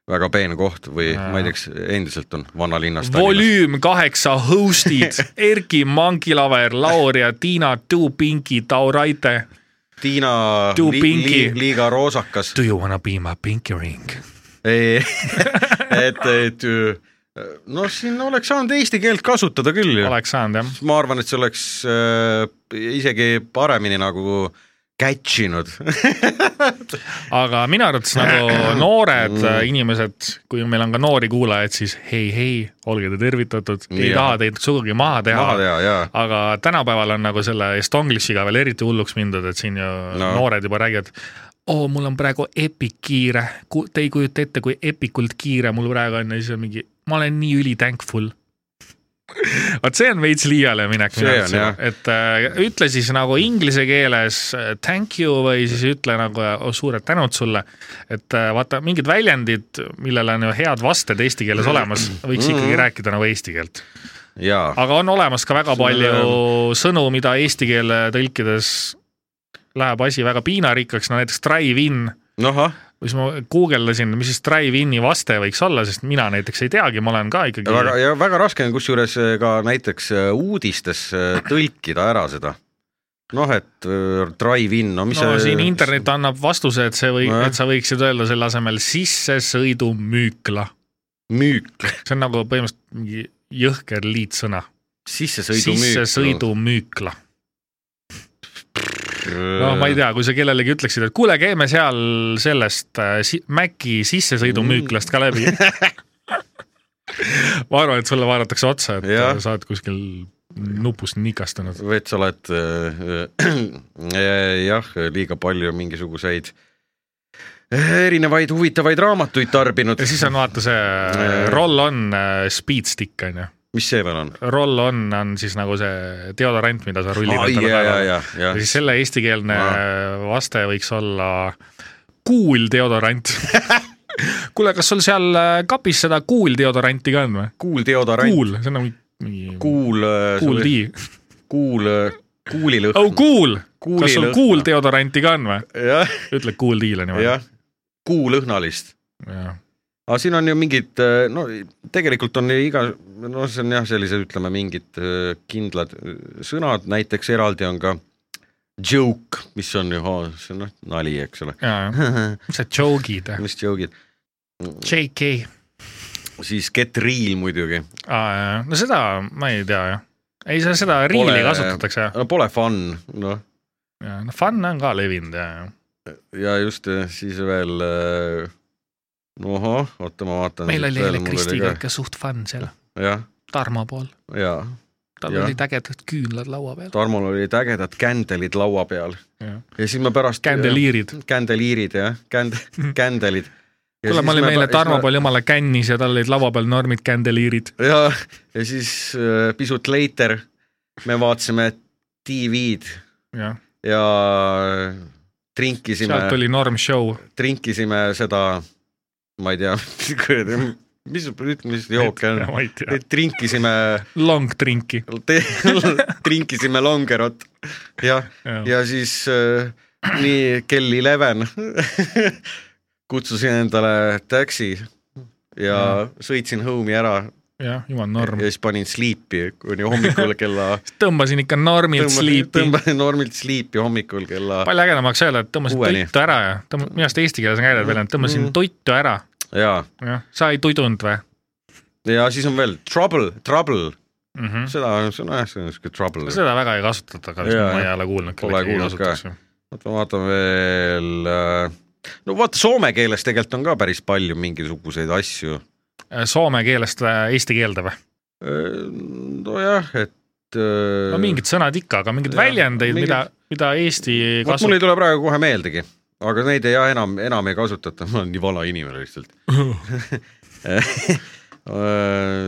Speaker 4: väga peen koht või ja. ma ei tea , kas endiselt on vanalinnas .
Speaker 3: volüüm kaheksa host'id
Speaker 4: <laughs>
Speaker 3: Erki Mangilaver , Laur ja Tiina Tupinki , Tauraite .
Speaker 4: Tiina
Speaker 3: Two
Speaker 4: li, li,
Speaker 3: Pinky.
Speaker 4: liiga roosakas
Speaker 3: Do . you wanna be my pinky ring ?
Speaker 4: <laughs> et , et noh , siin oleks saanud eesti keelt kasutada küll ju .
Speaker 3: oleks saanud jah ,
Speaker 4: ma arvan , et see oleks äh, isegi paremini nagu catch inud
Speaker 3: aga minu arvates
Speaker 4: <clears throat>
Speaker 3: nagu noored äh,
Speaker 4: Mm.
Speaker 3: inimesed , kui meil on ka noori kuulajaid , siis hei , hei , olge te tervitatud , ei
Speaker 4: Jah.
Speaker 3: taha teid sugugi maha teha
Speaker 4: maha teha ja
Speaker 3: aga tänapäeval on nagu selle Estonglishiga veel eriti hulluks mindud , et siin ju
Speaker 4: No.
Speaker 3: no. noored juba räägivad , oo , mul on praegu epic kiire , te ei kujuta ette , kui epikult kiire mul praegu on ja siis on mingi , ma olen nii üli thankful . vot see on veits liiale minek
Speaker 4: See on, jah. ,
Speaker 3: et äh, ütle siis nagu inglise keeles äh, thank you või siis ütle nagu "Oh, suured tänud sulle . et äh, vaata mingid väljendid , millel on ju head vasted eesti keeles olemas , võiks
Speaker 4: Mhm.
Speaker 3: ikkagi rääkida nagu eesti keelt
Speaker 4: ja
Speaker 3: aga on olemas ka väga palju sõnu , mida eesti keele tõlkides läheb asi väga piinarikkaks , no näiteks drive-in ,
Speaker 4: ahah ,
Speaker 3: mis ma guugeldasin , mis siis drive-in'i vaste võiks olla , sest mina näiteks ei teagi , ma olen ka
Speaker 4: väga
Speaker 3: ikkagi ,
Speaker 4: ja väga raske on kusjuures ka näiteks äh, uudistes äh, tõlkida ära seda . noh , et äh, drive-in , no mis
Speaker 3: no siin internet annab vastuse , et see või
Speaker 4: Nojah. ,
Speaker 3: et sa võiksid öelda selle asemel sissesõidumüükla .
Speaker 4: müük ,
Speaker 3: see on nagu põhimõtteliselt mingi jõhker liitsõna ,
Speaker 4: sissesõidumüük .
Speaker 3: sissesõidumüükla . no ma ei .
Speaker 4: Äh.
Speaker 3: tea , kui sa kellelegi ütleksid , et kuule , käime seal sellest äh, si Maci sissesõidumüüklast ka
Speaker 4: <laughs>
Speaker 3: läbi . ma arvan , et sulle vaadatakse otsa , et
Speaker 4: Jah.
Speaker 3: ja. sa oled kuskil nupust nikastanud .
Speaker 4: <laughs> et sa oled äh, äh, <clears throat> jah , liiga palju mingisuguseid äh, erinevaid huvitavaid raamatuid tarbinud
Speaker 3: ja . siis on vaata see
Speaker 4: Äh.
Speaker 3: roll-on äh, speed stick on ju ,
Speaker 4: mis see veel on ?
Speaker 3: roll-on on siis nagu see deodorant , mida sa rullid
Speaker 4: ai ,
Speaker 3: endale
Speaker 4: ja , ja ,
Speaker 3: päeva .
Speaker 4: ja , ja
Speaker 3: ja siis selle eestikeelne
Speaker 4: Aa.
Speaker 3: vaste võiks olla kuul cool deodorant . <laughs> kuule , kas sul seal äh, kapis seda kuul cool deodoranti ka on või ?
Speaker 4: kuul deodorant ,
Speaker 3: kuul , see on nagu mingi kuul ,
Speaker 4: kuul ,
Speaker 3: kuul tii .
Speaker 4: kuul , kuulilõhn
Speaker 3: oh , kuul ,
Speaker 4: Kuuli
Speaker 3: kas sul
Speaker 4: lõhna.
Speaker 3: kuul deodoranti ka on või ?
Speaker 4: jah ,
Speaker 3: ütle kuul tiile niimoodi .
Speaker 4: jah , kuulõhnalist .
Speaker 3: jah ,
Speaker 4: aga siin on ju mingid , no tegelikult on ju iga , noh , see on jah , sellised ütleme mingid äh, kindlad äh, sõnad , näiteks eraldi on ka joke , mis on ju , see on noh nali , eks ole . <laughs>
Speaker 3: mis sa joke'id ,
Speaker 4: mis joke'id ,
Speaker 3: JK .
Speaker 4: siis get real muidugi .
Speaker 3: no seda ma ei tea jah . ei , seda riili kasutatakse jah ,
Speaker 4: no pole fun , noh ,
Speaker 3: no fun on ka levinud ja , ja .
Speaker 4: ja just äh, siis veel äh, no ahah , oota , ma vaatan .
Speaker 7: meil oli eile Kristiga . ikka suht fun seal
Speaker 4: jah ,
Speaker 7: Tarmo pool ,
Speaker 4: ja
Speaker 7: tal
Speaker 4: Jah.
Speaker 7: olid ägedad küünlad laua peal .
Speaker 4: Tarmol olid ägedad kändelid laua peal
Speaker 3: Jah.
Speaker 4: ja siis ma pärast .
Speaker 3: kändeliirid .
Speaker 4: kändeliirid jah , känd- , kändelid .
Speaker 3: kuule , ma olin meile Tarmo . peal jumala kännis ja tal olid laua peal normid kändeliirid .
Speaker 4: ja , ja siis äh, pisut later me vaatasime TV-d
Speaker 3: jah ,
Speaker 4: ja
Speaker 3: sealt
Speaker 4: trinkisime ,
Speaker 3: tuli norm show .
Speaker 4: trinkisime seda , ma ei tea , kuradi mis , mis jook on ?
Speaker 3: <laughs> ma ei tea ,
Speaker 4: trinkisime ,
Speaker 3: long drink'i .
Speaker 4: trinkisime longerot ja , ja siis äh, nii kell eleven kutsusin endale taksi ja sõitsin home'i ära
Speaker 3: jah , jumal
Speaker 4: ja
Speaker 3: norm .
Speaker 4: siis panin sleep'i kuni hommikul kella
Speaker 3: tõmbasin ikka normilt sleep'i .
Speaker 4: tõmbasin normilt sleep'i hommikul kella
Speaker 3: palju ägedam oleks öelda , et tõmbasin
Speaker 4: Kuueni.
Speaker 3: toitu ära ja tõmb- , minu arust eesti keeles on ka ägedad väljend , tõmbasin
Speaker 4: Mm.
Speaker 3: toitu ära .
Speaker 4: ja ,
Speaker 3: jah , sa ei tudunud või
Speaker 4: ja siis on veel trouble , trouble ,
Speaker 3: mm ? -hmm.
Speaker 4: seda sõna jah , see on siuke trouble .
Speaker 3: seda väga ei kasutata , aga
Speaker 4: Jaa,
Speaker 3: ma ei
Speaker 4: jah.
Speaker 3: ole kuulnud .
Speaker 4: Pole kuulnud ka. . oota , vaatame veel , no vaata soome keeles tegelikult on ka päris palju mingisuguseid asju .
Speaker 3: Soome keelest äh, eesti keelde või ?
Speaker 4: Äh, nojah , et äh,
Speaker 3: no mingid sõnad ikka , aga mingeid
Speaker 4: jah,
Speaker 3: väljendeid ,
Speaker 4: mingid-
Speaker 3: mida , mida Eesti
Speaker 4: vot mul
Speaker 3: kasutab
Speaker 4: ei . tule praegu kohe meeldegi , aga neid ei , enam , enam ei kasutata , ma olen nii vana inimene
Speaker 3: <laughs>
Speaker 4: lihtsalt .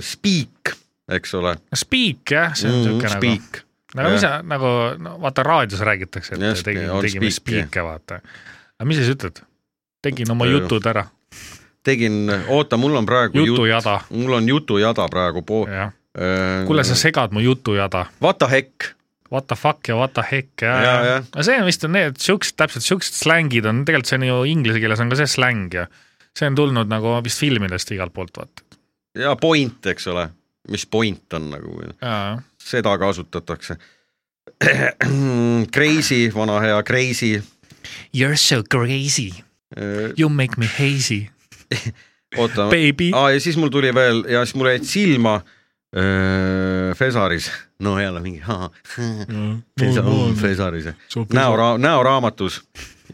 Speaker 4: Speak , eks ole .
Speaker 3: Speak jah , see on niisugune mm, nagu ,
Speaker 4: Speak ,
Speaker 3: nagu mis
Speaker 4: jah.
Speaker 3: see- nagu no, vaata raadios räägitakse , et
Speaker 4: Jah,
Speaker 3: yes, tegime
Speaker 4: on ,
Speaker 3: tegime
Speaker 4: speak'e.
Speaker 3: speak'e , vaata . aga mis sa siis ütled ? tegin oma
Speaker 4: Öö.
Speaker 3: jutud ära ,
Speaker 4: tegin , oota , mul on praegu jut- ,
Speaker 3: jutujada ,
Speaker 4: mul on jutujada praegu po- .
Speaker 3: jah . kuule ,
Speaker 4: Mm.
Speaker 3: sa segad mu jutujada .
Speaker 4: What the heck ,
Speaker 3: What the fuck ja what the heck ja,
Speaker 4: Jaa,
Speaker 3: ja
Speaker 4: jah. ,
Speaker 3: ja see on vist on need siuksed , täpselt siuksed slängid on , tegelikult see on ju inglise keeles on ka see släng ja see on tulnud nagu vist filmidest igalt poolt vaata .
Speaker 4: ja point , eks ole , mis point on nagu
Speaker 3: jaa ,
Speaker 4: seda kasutatakse . <clears throat> Crazy , vana hea Crazy .
Speaker 7: You are so crazy , you make me hazy ,
Speaker 4: oota ,
Speaker 3: baby ,
Speaker 4: aa ja siis mul tuli veel ja siis mul jäid silma öö, Fesaris , no jälle mingi ha-ha,
Speaker 3: Mm.
Speaker 4: Fesa, mm, Fesaris , näora- , näoraamatus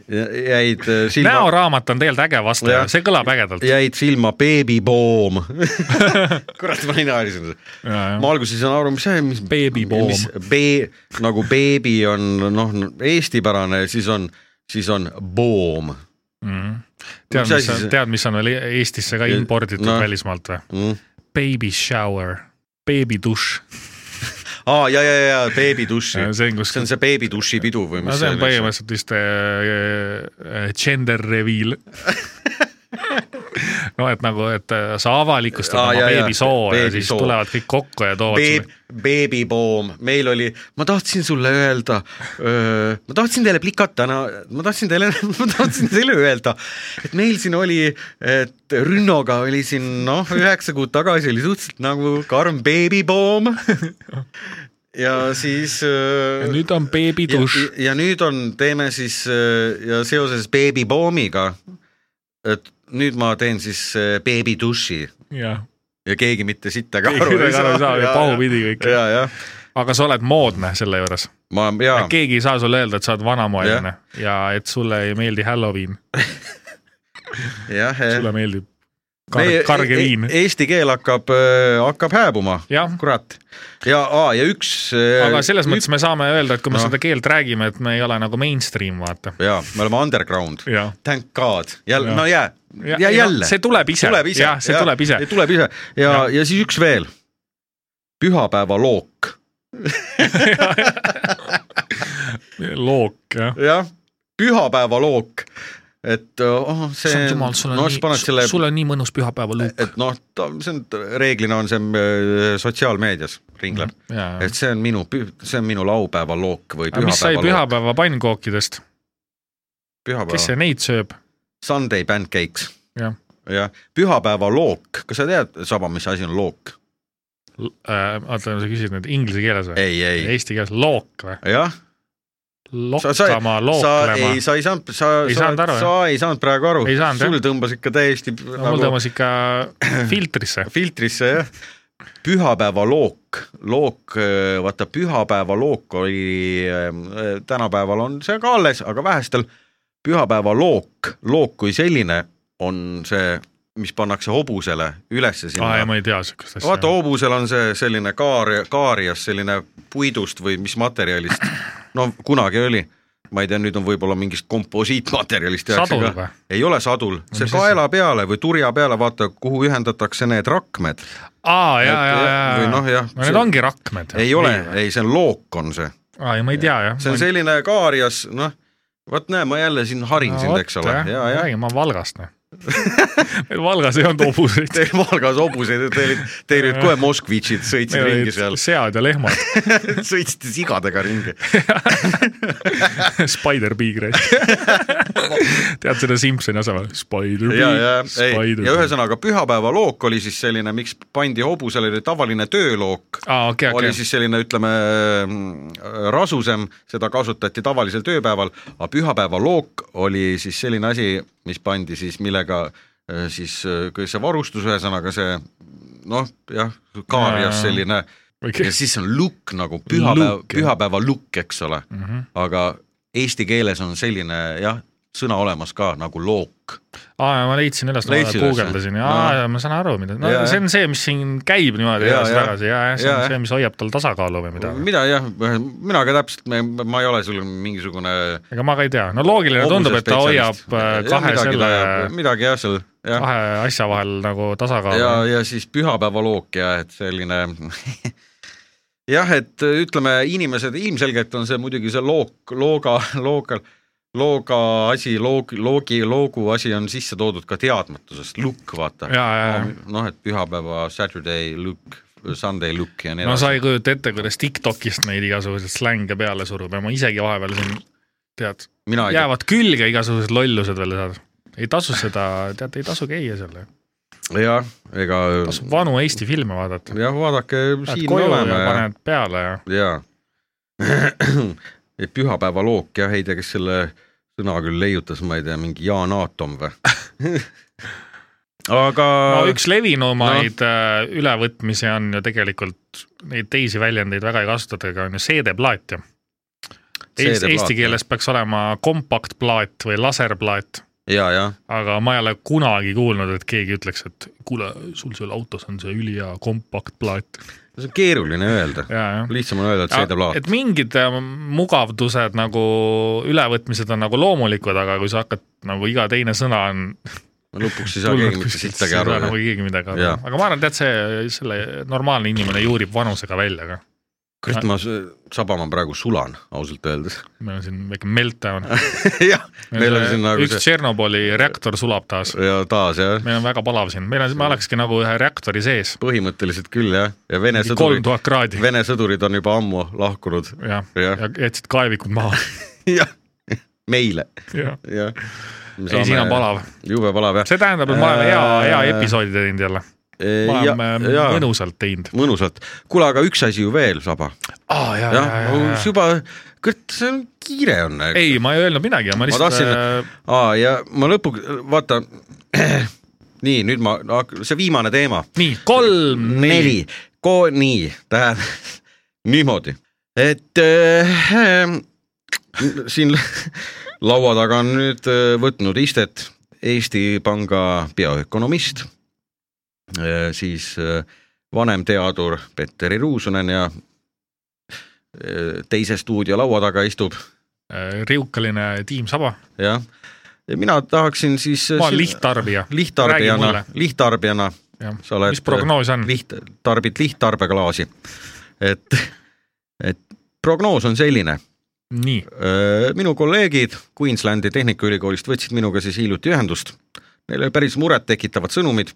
Speaker 4: jäid öö, silma ,
Speaker 3: näoraamat on tegelikult äge vastaja ,
Speaker 4: Jah.
Speaker 3: see kõlab ägedalt .
Speaker 4: jäid silma beebiboom . <laughs> kurat , ma nii naersin seda . ma alguses ei saanud aru , mis see , mis
Speaker 3: Beebiboom.
Speaker 4: mis bee- , nagu beebi on noh , eestipärane , siis on , siis on boom
Speaker 3: tead ,
Speaker 4: mis
Speaker 3: mis
Speaker 4: asi
Speaker 3: on ,
Speaker 4: see-
Speaker 3: tead , mis on veel E- Eestisse ka
Speaker 4: Ja-
Speaker 3: imporditud
Speaker 4: no.
Speaker 3: välismaalt või ?
Speaker 4: mm. .
Speaker 3: Baby shower , baby duš ,
Speaker 4: aa , ja , ja , ja beebiduši ,
Speaker 3: see on
Speaker 4: see on
Speaker 3: kuskil
Speaker 4: see beebidušipidu või
Speaker 3: no
Speaker 4: mis
Speaker 3: see on
Speaker 4: see on ?
Speaker 3: põhimõtteliselt vist äh, äh, gender
Speaker 4: <laughs>
Speaker 3: reveal . no et nagu , et äh, sa avalikustad
Speaker 4: Aa,
Speaker 3: ah, oma
Speaker 4: jaa, jaa.
Speaker 3: beebisoo ja siis
Speaker 4: Beebisoo.
Speaker 3: tulevad kõik kokku ja toovad
Speaker 4: Beeb-
Speaker 3: sulle ,
Speaker 4: beebiboom , meil oli , ma tahtsin sulle öelda , ma tahtsin teile plikata , ma tahtsin teile , <laughs> ma tahtsin teile öelda , et meil siin oli , et rünnoga oli siin noh , üheksa kuud tagasi oli suhteliselt nagu karm beebiboom . ja siis öö,
Speaker 3: ja nüüd on
Speaker 4: ja,
Speaker 3: beebiduš
Speaker 4: ja- ja nüüd on , teeme siis öö, ja seoses beebiboomiga , et nüüd ma teen siis öö, beebiduši
Speaker 3: ja
Speaker 4: ja keegi mitte sitta ka aru
Speaker 3: kõik aru ei saa ja pahupidi kõik ,
Speaker 4: ja , jah ,
Speaker 3: aga sa oled moodne selle juures .
Speaker 4: ma ja
Speaker 3: keegi ei saa sulle öelda , et sa oled vanamoeline ja et sulle ei meeldi Halloween ,
Speaker 4: jah ,
Speaker 3: sulle meeldib karge , karge viin .
Speaker 4: e- Eesti keel hakkab , hakkab hääbuma ,
Speaker 3: jah ,
Speaker 4: kurat . ja , ja üks .
Speaker 3: aga selles mõttes me saame öelda , et kui me
Speaker 4: Noh.
Speaker 3: seda keelt räägime , et me ei ole nagu mainstream , vaata .
Speaker 4: ja me oleme underground ,
Speaker 3: jah
Speaker 4: thank god , jälle ,
Speaker 3: Jaa.
Speaker 4: no jää ,
Speaker 3: Ja-
Speaker 4: ja
Speaker 3: ei,
Speaker 4: jälle
Speaker 3: noh, . see tuleb ise. Jah, see tuleb ise.
Speaker 4: tuleb ise ja ,
Speaker 3: Jah.
Speaker 4: ja siis üks veel . pühapäevalook ,
Speaker 3: look jah ,
Speaker 4: jah , pühapäevalook , et oh, see .
Speaker 7: issand jumal , sul on
Speaker 4: no, siis paned
Speaker 7: nii ,
Speaker 4: selle...
Speaker 7: selle... sul on nii mõnus pühapäevaluuk .
Speaker 4: et noh , ta , see on , reeglina on see äh, sotsiaalmeedias ringleb mm ,
Speaker 3: jaa
Speaker 4: -hmm. et see on minu , see on minu laupäevalook või
Speaker 3: aga mis sai
Speaker 4: pühapäevalook ,
Speaker 3: pühapäeva pannkookidest , kes
Speaker 4: pühapäeva ,
Speaker 3: see neid sööb ?
Speaker 4: Sunday pancakes
Speaker 3: Jah. .
Speaker 4: jah , pühapäevalook , kas sa tead , Saba , mis asi on look ?
Speaker 3: äh, oota , sa küsid nüüd inglise keeles või ?
Speaker 4: ei , ei ,
Speaker 3: Eesti keeles look või ?
Speaker 4: jah , sa , sa ,
Speaker 3: lokkama ,
Speaker 4: sa
Speaker 3: looklema
Speaker 4: ei ,. sa ei saanud , sa ,
Speaker 3: Ei
Speaker 4: sa
Speaker 3: saanud , aru,
Speaker 4: sa ei saanud praegu aru
Speaker 3: Ei , saanud,
Speaker 4: sul tõmbas ikka täiesti
Speaker 3: no
Speaker 4: nagu
Speaker 3: mul tõmbas
Speaker 4: <clears throat>
Speaker 3: ikka filtrisse .
Speaker 4: filtrisse jah . pühapäevalook , look , vaata pühapäevalook oli , tänapäeval on see ka alles , aga vähestel pühapäevalook , look kui selline on see , mis pannakse hobusele ülesse
Speaker 3: aa , ei
Speaker 4: sinna .
Speaker 3: ma ei tea siukest
Speaker 4: vaata
Speaker 3: asja .
Speaker 4: hobusel on see selline kaar , kaarias selline puidust või mis materjalist , no kunagi oli , ma ei tea , nüüd on võib-olla mingist komposiitmaterjalist tehakse
Speaker 3: sadul
Speaker 4: ka
Speaker 3: või ?
Speaker 4: ei ole sadul , see
Speaker 3: mis
Speaker 4: kaela peale või turja peale , vaata , kuhu ühendatakse need rakmed .
Speaker 3: aa , jaa , jaa ,
Speaker 4: või
Speaker 3: jaa
Speaker 4: noh ,, jah .
Speaker 3: no need ongi rakmed .
Speaker 4: ei ole , ei , see on look on see ,
Speaker 3: aa , ei ma ei tea jah .
Speaker 4: see on selline kaarias , noh , vot näe , ma jälle siin harin sind , eks ole , ja , ja , <laughs>
Speaker 3: räägin , ma olen Valgast noh . meil Valgas ei olnud hobuseid .
Speaker 4: Teil Valgas hobuseid , teil olid , teil olid
Speaker 3: <laughs>
Speaker 4: kohe Moskvitšid , sõitsid
Speaker 3: meil
Speaker 4: ringi
Speaker 3: olid
Speaker 4: seal , <laughs>
Speaker 3: sead ja lehmad
Speaker 4: sõitsite sigadega ringi . <laughs>
Speaker 3: Spider-Piigreid . tead seda Simsoni asemel ?
Speaker 4: ja , ja ,
Speaker 3: Spider-Piig ,
Speaker 4: ei , ja
Speaker 3: Spider-Piig .
Speaker 4: ühesõnaga pühapäeva look oli siis selline , miks pandi hobusele , oli tavaline töölook
Speaker 3: aa , Ah, okei ,
Speaker 4: oli
Speaker 3: okei .
Speaker 4: siis selline , ütleme mm, rasusem , seda kasutati tavalisel tööpäeval , aga pühapäevalook oli siis selline asi , mis pandi siis millega eh, siis , kuidas see varustus , ühesõnaga see noh , jah , kaarjas selline ja siis on lukk nagu pühapäev ,
Speaker 3: Lukk, jah. Mhm.
Speaker 4: pühapäeva lukk , eks ole , aga eesti keeles on selline jah , sõna olemas ka nagu look .
Speaker 3: aa , ma leidsin üles , ma
Speaker 4: Leidsid üles,
Speaker 3: guugeldasin ja
Speaker 4: jah?
Speaker 3: aa, ma saan aru , mida , no
Speaker 4: Ja, ja.
Speaker 3: see on see , mis siin käib niimoodi
Speaker 4: Ja, ja.
Speaker 3: edasi-tagasi ja , ja see
Speaker 4: Ja,
Speaker 3: on
Speaker 4: ja.
Speaker 3: see , mis hoiab tal tasakaalu või midagi .
Speaker 4: mida jah , mina ka täpselt , ma ei ole sul mingisugune
Speaker 3: ega ma ka ei tea , no loogiline tundub , et ta hoiab
Speaker 4: hobusespetsialist.
Speaker 3: äh, kahe
Speaker 4: Jah, midagi ta
Speaker 3: selle ,
Speaker 4: ajab, midagi jah , seal jah ,
Speaker 3: kahe asja vahel nagu
Speaker 4: ja
Speaker 3: tasakaalu .,
Speaker 4: ja siis pühapäevalook ja et selline <laughs> jah , et ütleme , inimesed ilmselgelt on see muidugi see look , looga , looga , looga asi , loog , loogi , loogu asi on sisse toodud ka teadmatusest , look vaata .
Speaker 3: ja , ja , ja
Speaker 4: noh , et pühapäeva Saturday look , Sunday look ja nii
Speaker 3: no sa
Speaker 4: edasi
Speaker 3: ei kujuta ette , kuidas Tiktokist neid igasuguseid slänge peale surub ja ma isegi vahepeal siin tead ,
Speaker 4: mina ei tea ,
Speaker 3: jäävad külge igasugused lollused veel tead . ei tasu seda , tead , ei tasu käia seal ,
Speaker 4: jah , ega
Speaker 3: tasub vanu Eesti filme vaadata .
Speaker 4: jah , vaadake ,
Speaker 3: Lähed
Speaker 4: siin
Speaker 3: koju ja
Speaker 4: oleme ja
Speaker 3: paned peale ja
Speaker 4: jaa . pühapäevalook jah , ei tea , kes selle sõna küll leiutas , ma ei tea , mingi Jaan Aatom
Speaker 3: <laughs>
Speaker 4: või ? aga
Speaker 3: no üks levinumaid no. ülevõtmisi on ju tegelikult neid teisi väljendeid väga ei kasutata , aga on ju seedeplaat ju .
Speaker 4: CD-plaat,
Speaker 3: Eesti
Speaker 4: jah.
Speaker 3: keeles peaks olema kompaktplaat või laserplaat ,
Speaker 4: ja , ja ,
Speaker 3: aga ma ei ole kunagi kuulnud , et keegi ütleks , et kuule , sul seal autos on see ülihea kompaktplaat .
Speaker 4: see on keeruline öelda ,
Speaker 3: ja , jah .
Speaker 4: lihtsam on öelda , et seedeplaat
Speaker 3: et . mingid äh, mugavdused nagu ülevõtmised on nagu loomulikud , aga kui sa hakkad nagu iga teine sõna on .
Speaker 4: lõpuks ei saa keegi mitte sittagi aru . noh.
Speaker 3: nagu keegi midagi aru ,
Speaker 4: Jaa.
Speaker 3: aga ma arvan , tead see , selle normaalne inimene juurib vanusega välja ka .
Speaker 4: kurat , ma s- saba ma praegu sulan , ausalt öeldes .
Speaker 3: <laughs> meil on siin väike meltdown .
Speaker 4: jah , <laughs> meil on siin nagu
Speaker 3: üks
Speaker 4: see
Speaker 3: Tšernobõli reaktor sulab taas ,
Speaker 4: ja taas jah ,
Speaker 3: meil on väga palav siin , meil on , me olekski nagu ühe reaktori sees ,
Speaker 4: põhimõtteliselt küll jah , ja Vene
Speaker 3: kolm
Speaker 4: sõdurid ,
Speaker 3: tuhat kraadi ,
Speaker 4: Vene sõdurid on juba ammu lahkunud
Speaker 3: jah ,
Speaker 4: jah ,
Speaker 3: ja jätsid kaevikud maha ,
Speaker 4: jah , meile
Speaker 3: jah .
Speaker 4: <laughs> jah .
Speaker 3: ei , siin on . palav ,
Speaker 4: jube palav jah .
Speaker 3: see tähendab , et me oleme hea , hea
Speaker 4: Äh, e,
Speaker 3: episoodi teinud jälle , me oleme mõnusalt teinud .
Speaker 4: mõnusalt , kuule , aga üks asi ju veel , Saba ,
Speaker 3: aa , ja , ja ,
Speaker 4: jah
Speaker 3: ja ,, ja .
Speaker 4: juba , kurat , see on kiire on .
Speaker 3: ei , ma ei öelnud midagi , ma lihtsalt
Speaker 4: tahtsin-
Speaker 3: äh,
Speaker 4: aa , ja ma lõpuks , vaata , <clears throat> nii , nüüd ma , see viimane teema ,
Speaker 3: nii , kolm , neli .
Speaker 4: neli , ko- , nii , tähendab <laughs> niimoodi , et äh, siin <laughs> laua taga on nüüd äh, võtnud istet Eesti Panga bioökonomist äh, , siis äh, vanemteadur Petteri Ruusunen ja äh, teise stuudio laua taga istub ,
Speaker 3: Äh, riukaline Tiim Saba ,
Speaker 4: jah . ja mina tahaksin siis äh,
Speaker 3: ma olen lihttarbija . Räägi mulle.
Speaker 4: lihttarbijana , lihttarbijana , sa oled äh,
Speaker 3: mis prognoos on ?
Speaker 4: liht , tarbid lihttarbeklaasi . et , et prognoos on selline ,
Speaker 3: nii ,
Speaker 4: minu kolleegid Queenslandi Tehnikaülikoolist võtsid minuga siis hiljuti ühendust . Neil oli päris murettekitavad sõnumid .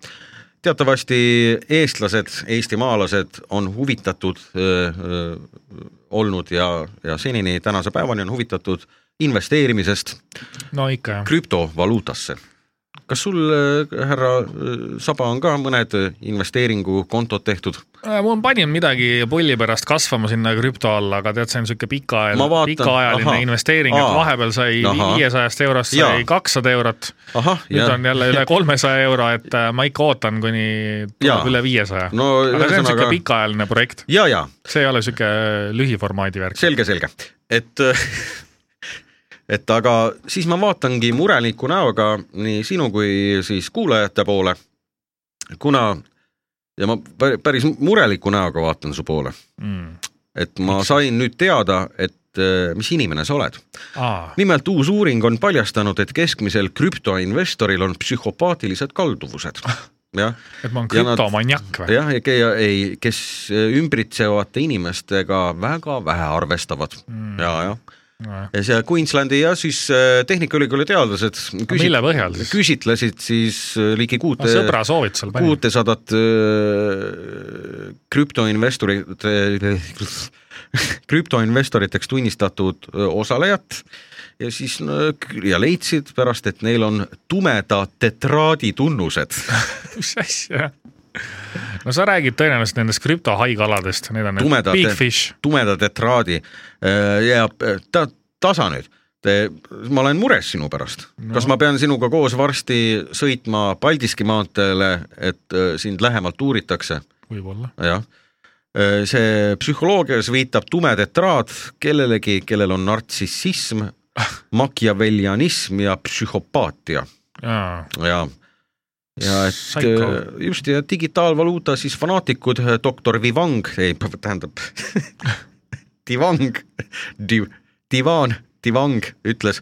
Speaker 4: teatavasti eestlased , eestimaalased on huvitatud öö, öö, olnud ja , ja senini tänase päevani on huvitatud investeerimisest
Speaker 3: no ikka jah .
Speaker 4: krüptovaluutasse . kas sul , härra öö, Saba , on ka mõned öö, investeeringukontod tehtud ?
Speaker 3: ma Äh, panin midagi pulli pärast kasvama sinna krüpto alla , aga tead , see on niisugune
Speaker 4: Ma
Speaker 3: pikaajaline ,
Speaker 4: vaatan.
Speaker 3: pikaajaline
Speaker 4: Ahah.
Speaker 3: investeering , et
Speaker 4: Aa.
Speaker 3: vahepeal sai
Speaker 4: Ahah.
Speaker 3: viiesajast eurost sai
Speaker 4: Jaa.
Speaker 3: kakssada eurot ,
Speaker 4: ahah ,
Speaker 3: nüüd on jälle
Speaker 4: <laughs>
Speaker 3: üle kolmesaja euro , et äh, ma ikka ootan , kuni
Speaker 4: Jaa.
Speaker 3: tuleb üle viiesaja .
Speaker 4: no
Speaker 3: aga see on niisugune
Speaker 4: ühesõnaga ,
Speaker 3: pikaajaline projekt ,
Speaker 4: ja , ja
Speaker 3: see ei ole niisugune lühiformaadi värk .
Speaker 4: selge , selge , et <laughs> et aga siis ma vaatangi mureliku näoga nii sinu kui siis kuulajate poole , kuna ja ma pä- päris mureliku näoga vaatan su poole ,
Speaker 3: mm. .
Speaker 4: et ma sain nüüd teada , et äh, mis inimene sa oled .
Speaker 3: aa ,
Speaker 4: nimelt uus uuring on paljastanud , et keskmisel krüptoinvestoril on psühhopaatilised kalduvused .
Speaker 3: Ah.
Speaker 4: jah ,
Speaker 3: et ma olen
Speaker 4: Ja nad-
Speaker 3: krüptomaniak või ?
Speaker 4: jah , ja ke- ei , äh,
Speaker 3: Mm.
Speaker 4: kes ümbritsevate inimestega väga vähe arvestavad ja , jah . ja see Queenslandi ja siis äh, Tehnikaülikooli teadlased küsit-
Speaker 3: mille , põhjal siis?
Speaker 4: küsitlesid siis äh, ligi
Speaker 3: no,
Speaker 4: kuute
Speaker 3: Ah, sõbra soovitusel panin Kuut... .
Speaker 4: kuutesadat äh, krüptoinvestorit , <laughs> krüptoinvestoriteks tunnistatud äh, osalejat ja siis no, k- ja leidsid pärast , et neil on tumeda tetraadi tunnused .
Speaker 3: <laughs>
Speaker 4: <laughs>
Speaker 3: mis asja ? no sa räägid tõenäoliselt nendest krüptohaigaladest , need on need
Speaker 4: Tumedad-
Speaker 3: big fish .
Speaker 4: tumeda tetraadi äh, ja äh, ta , tasa nüüd . Te, ma olen mures sinu pärast no. , kas ma pean sinuga koos varsti sõitma Paldiski maanteele , et äh, sind lähemalt uuritakse ?
Speaker 3: võib-olla .
Speaker 4: jah , see psühholoogias viitab tume tetraad kellelegi , kellel on
Speaker 3: <laughs>
Speaker 4: nartsissism , makiavellianism ja psühhopaatia ja , ja et
Speaker 3: Psycho.
Speaker 4: äh, just ja digitaalvaluuta siis fanaatikud , doktor Vivang , ei p- tähendab <laughs> Divang , div- , divan , Divang ütles ,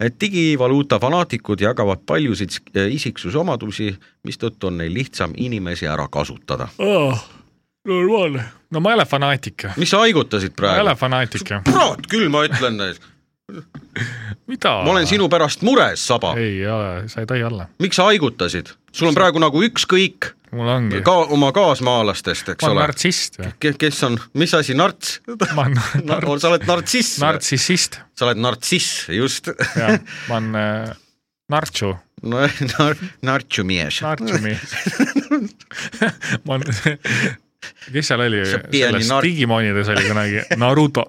Speaker 4: et digivaluuta fanaatikud jagavad paljusid s- äh, isiksusomadusi , mistõttu on neil lihtsam inimesi ära kasutada .
Speaker 3: normaalne . no ma ei ole fanaatik ju .
Speaker 4: mis sa haigutasid
Speaker 3: ma ei
Speaker 4: praegu
Speaker 3: ole ? fanaatik ju .
Speaker 4: praad küll , ma
Speaker 3: <laughs>
Speaker 4: ütlen , ma
Speaker 3: mida ?
Speaker 4: olen sinu pärast mures , Saba ,
Speaker 3: ei ole , sa ei tohi olla .
Speaker 4: miks sa haigutasid ? sul on praegu nagu ükskõik
Speaker 3: mul ongi .
Speaker 4: ka oma kaasmaalastest , eks
Speaker 3: ma olen
Speaker 4: ole ,
Speaker 3: nartsist ju .
Speaker 4: kes on , mis asi , narts ?
Speaker 3: <laughs> ma olen nar- ,
Speaker 4: sa oled nartsiss ,
Speaker 3: nartsissist .
Speaker 4: sa oled nartsiss , just .
Speaker 3: jah , ma olen äh, nartsu ,
Speaker 4: no nar- , nartsumies .
Speaker 3: nartsumees . ma olen , <laughs> kes seal oli ,
Speaker 4: See peani
Speaker 3: selles
Speaker 4: nar-
Speaker 3: Digimonides oli kunagi Naruto ,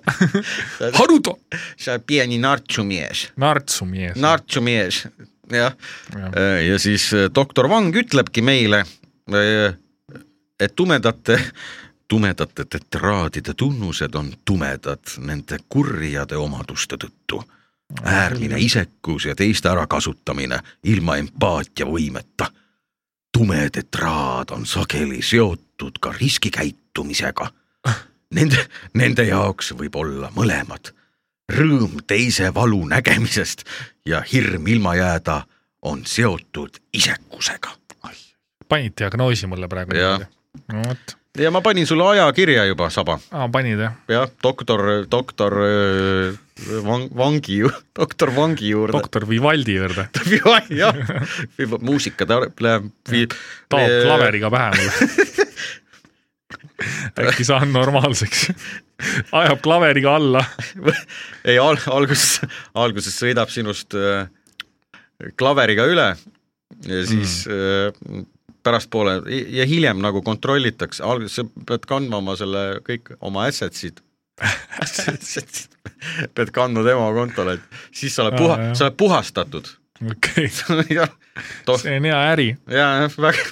Speaker 3: Haruto ,
Speaker 4: sa oled pieni nartsumies ,
Speaker 3: nartsumees .
Speaker 4: nartsumies , jah .
Speaker 3: Jah.
Speaker 4: ja siis äh, doktor Vang ütlebki meile , et tumedate , tumedate tetraadide tunnused on tumedad nende kurjade omaduste tõttu . äärmine isekus ja teiste ärakasutamine ilma empaatiavõimeta . tume tetraad on sageli seotud ka riskikäitumisega . Nende , nende jaoks võib olla mõlemad . rõõm teise valu nägemisest ja hirm ilma jääda on seotud isekusega .
Speaker 3: panid diagnoosi mulle praegu
Speaker 4: Jah. ?
Speaker 3: no vot ,
Speaker 4: ja ma panin sulle ajakirja juba , Saba ,
Speaker 3: aa panid jah ,
Speaker 4: jah , doktor , doktor öö, Vang- , Vangi ju , <laughs> doktor Vangi juurde .
Speaker 3: doktor Vivaldi juurde ,
Speaker 4: <laughs> jah , muusika ta läheb . Äh,
Speaker 3: toob klaveriga pähe mulle . äkki saan normaalseks , ajab klaveriga alla ,
Speaker 4: <laughs> ei al, , alguses , alguses sõidab sinust äh, klaveriga üle ja siis mm. pärastpoole i- ja hiljem nagu kontrollitakse , alguses sa pead kandma oma selle kõik oma asset'id pead kandma tema kontole , et siis sa oled
Speaker 3: Aa,
Speaker 4: puha
Speaker 3: jah. ,
Speaker 4: sa oled puhastatud . <laughs>
Speaker 3: okei ,
Speaker 4: jah , toh- ,
Speaker 3: see on hea äri ,
Speaker 4: jaa , jah , väga .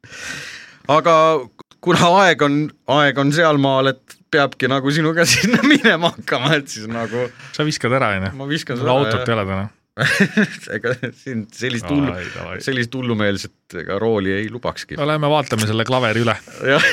Speaker 4: <laughs> aga kuna aeg on , aeg on sealmaal , et peabki nagu sinuga <laughs> sinna minema hakkama , et siis nagu
Speaker 3: sa viskad ära onju ,
Speaker 4: ma viskan
Speaker 3: mul autot ei ole täna .
Speaker 4: <laughs> ega siin sellist hullu , sellist hullumeelset ega rooli ei lubakski .
Speaker 3: no lähme vaatame selle klaveri üle .
Speaker 4: jah ,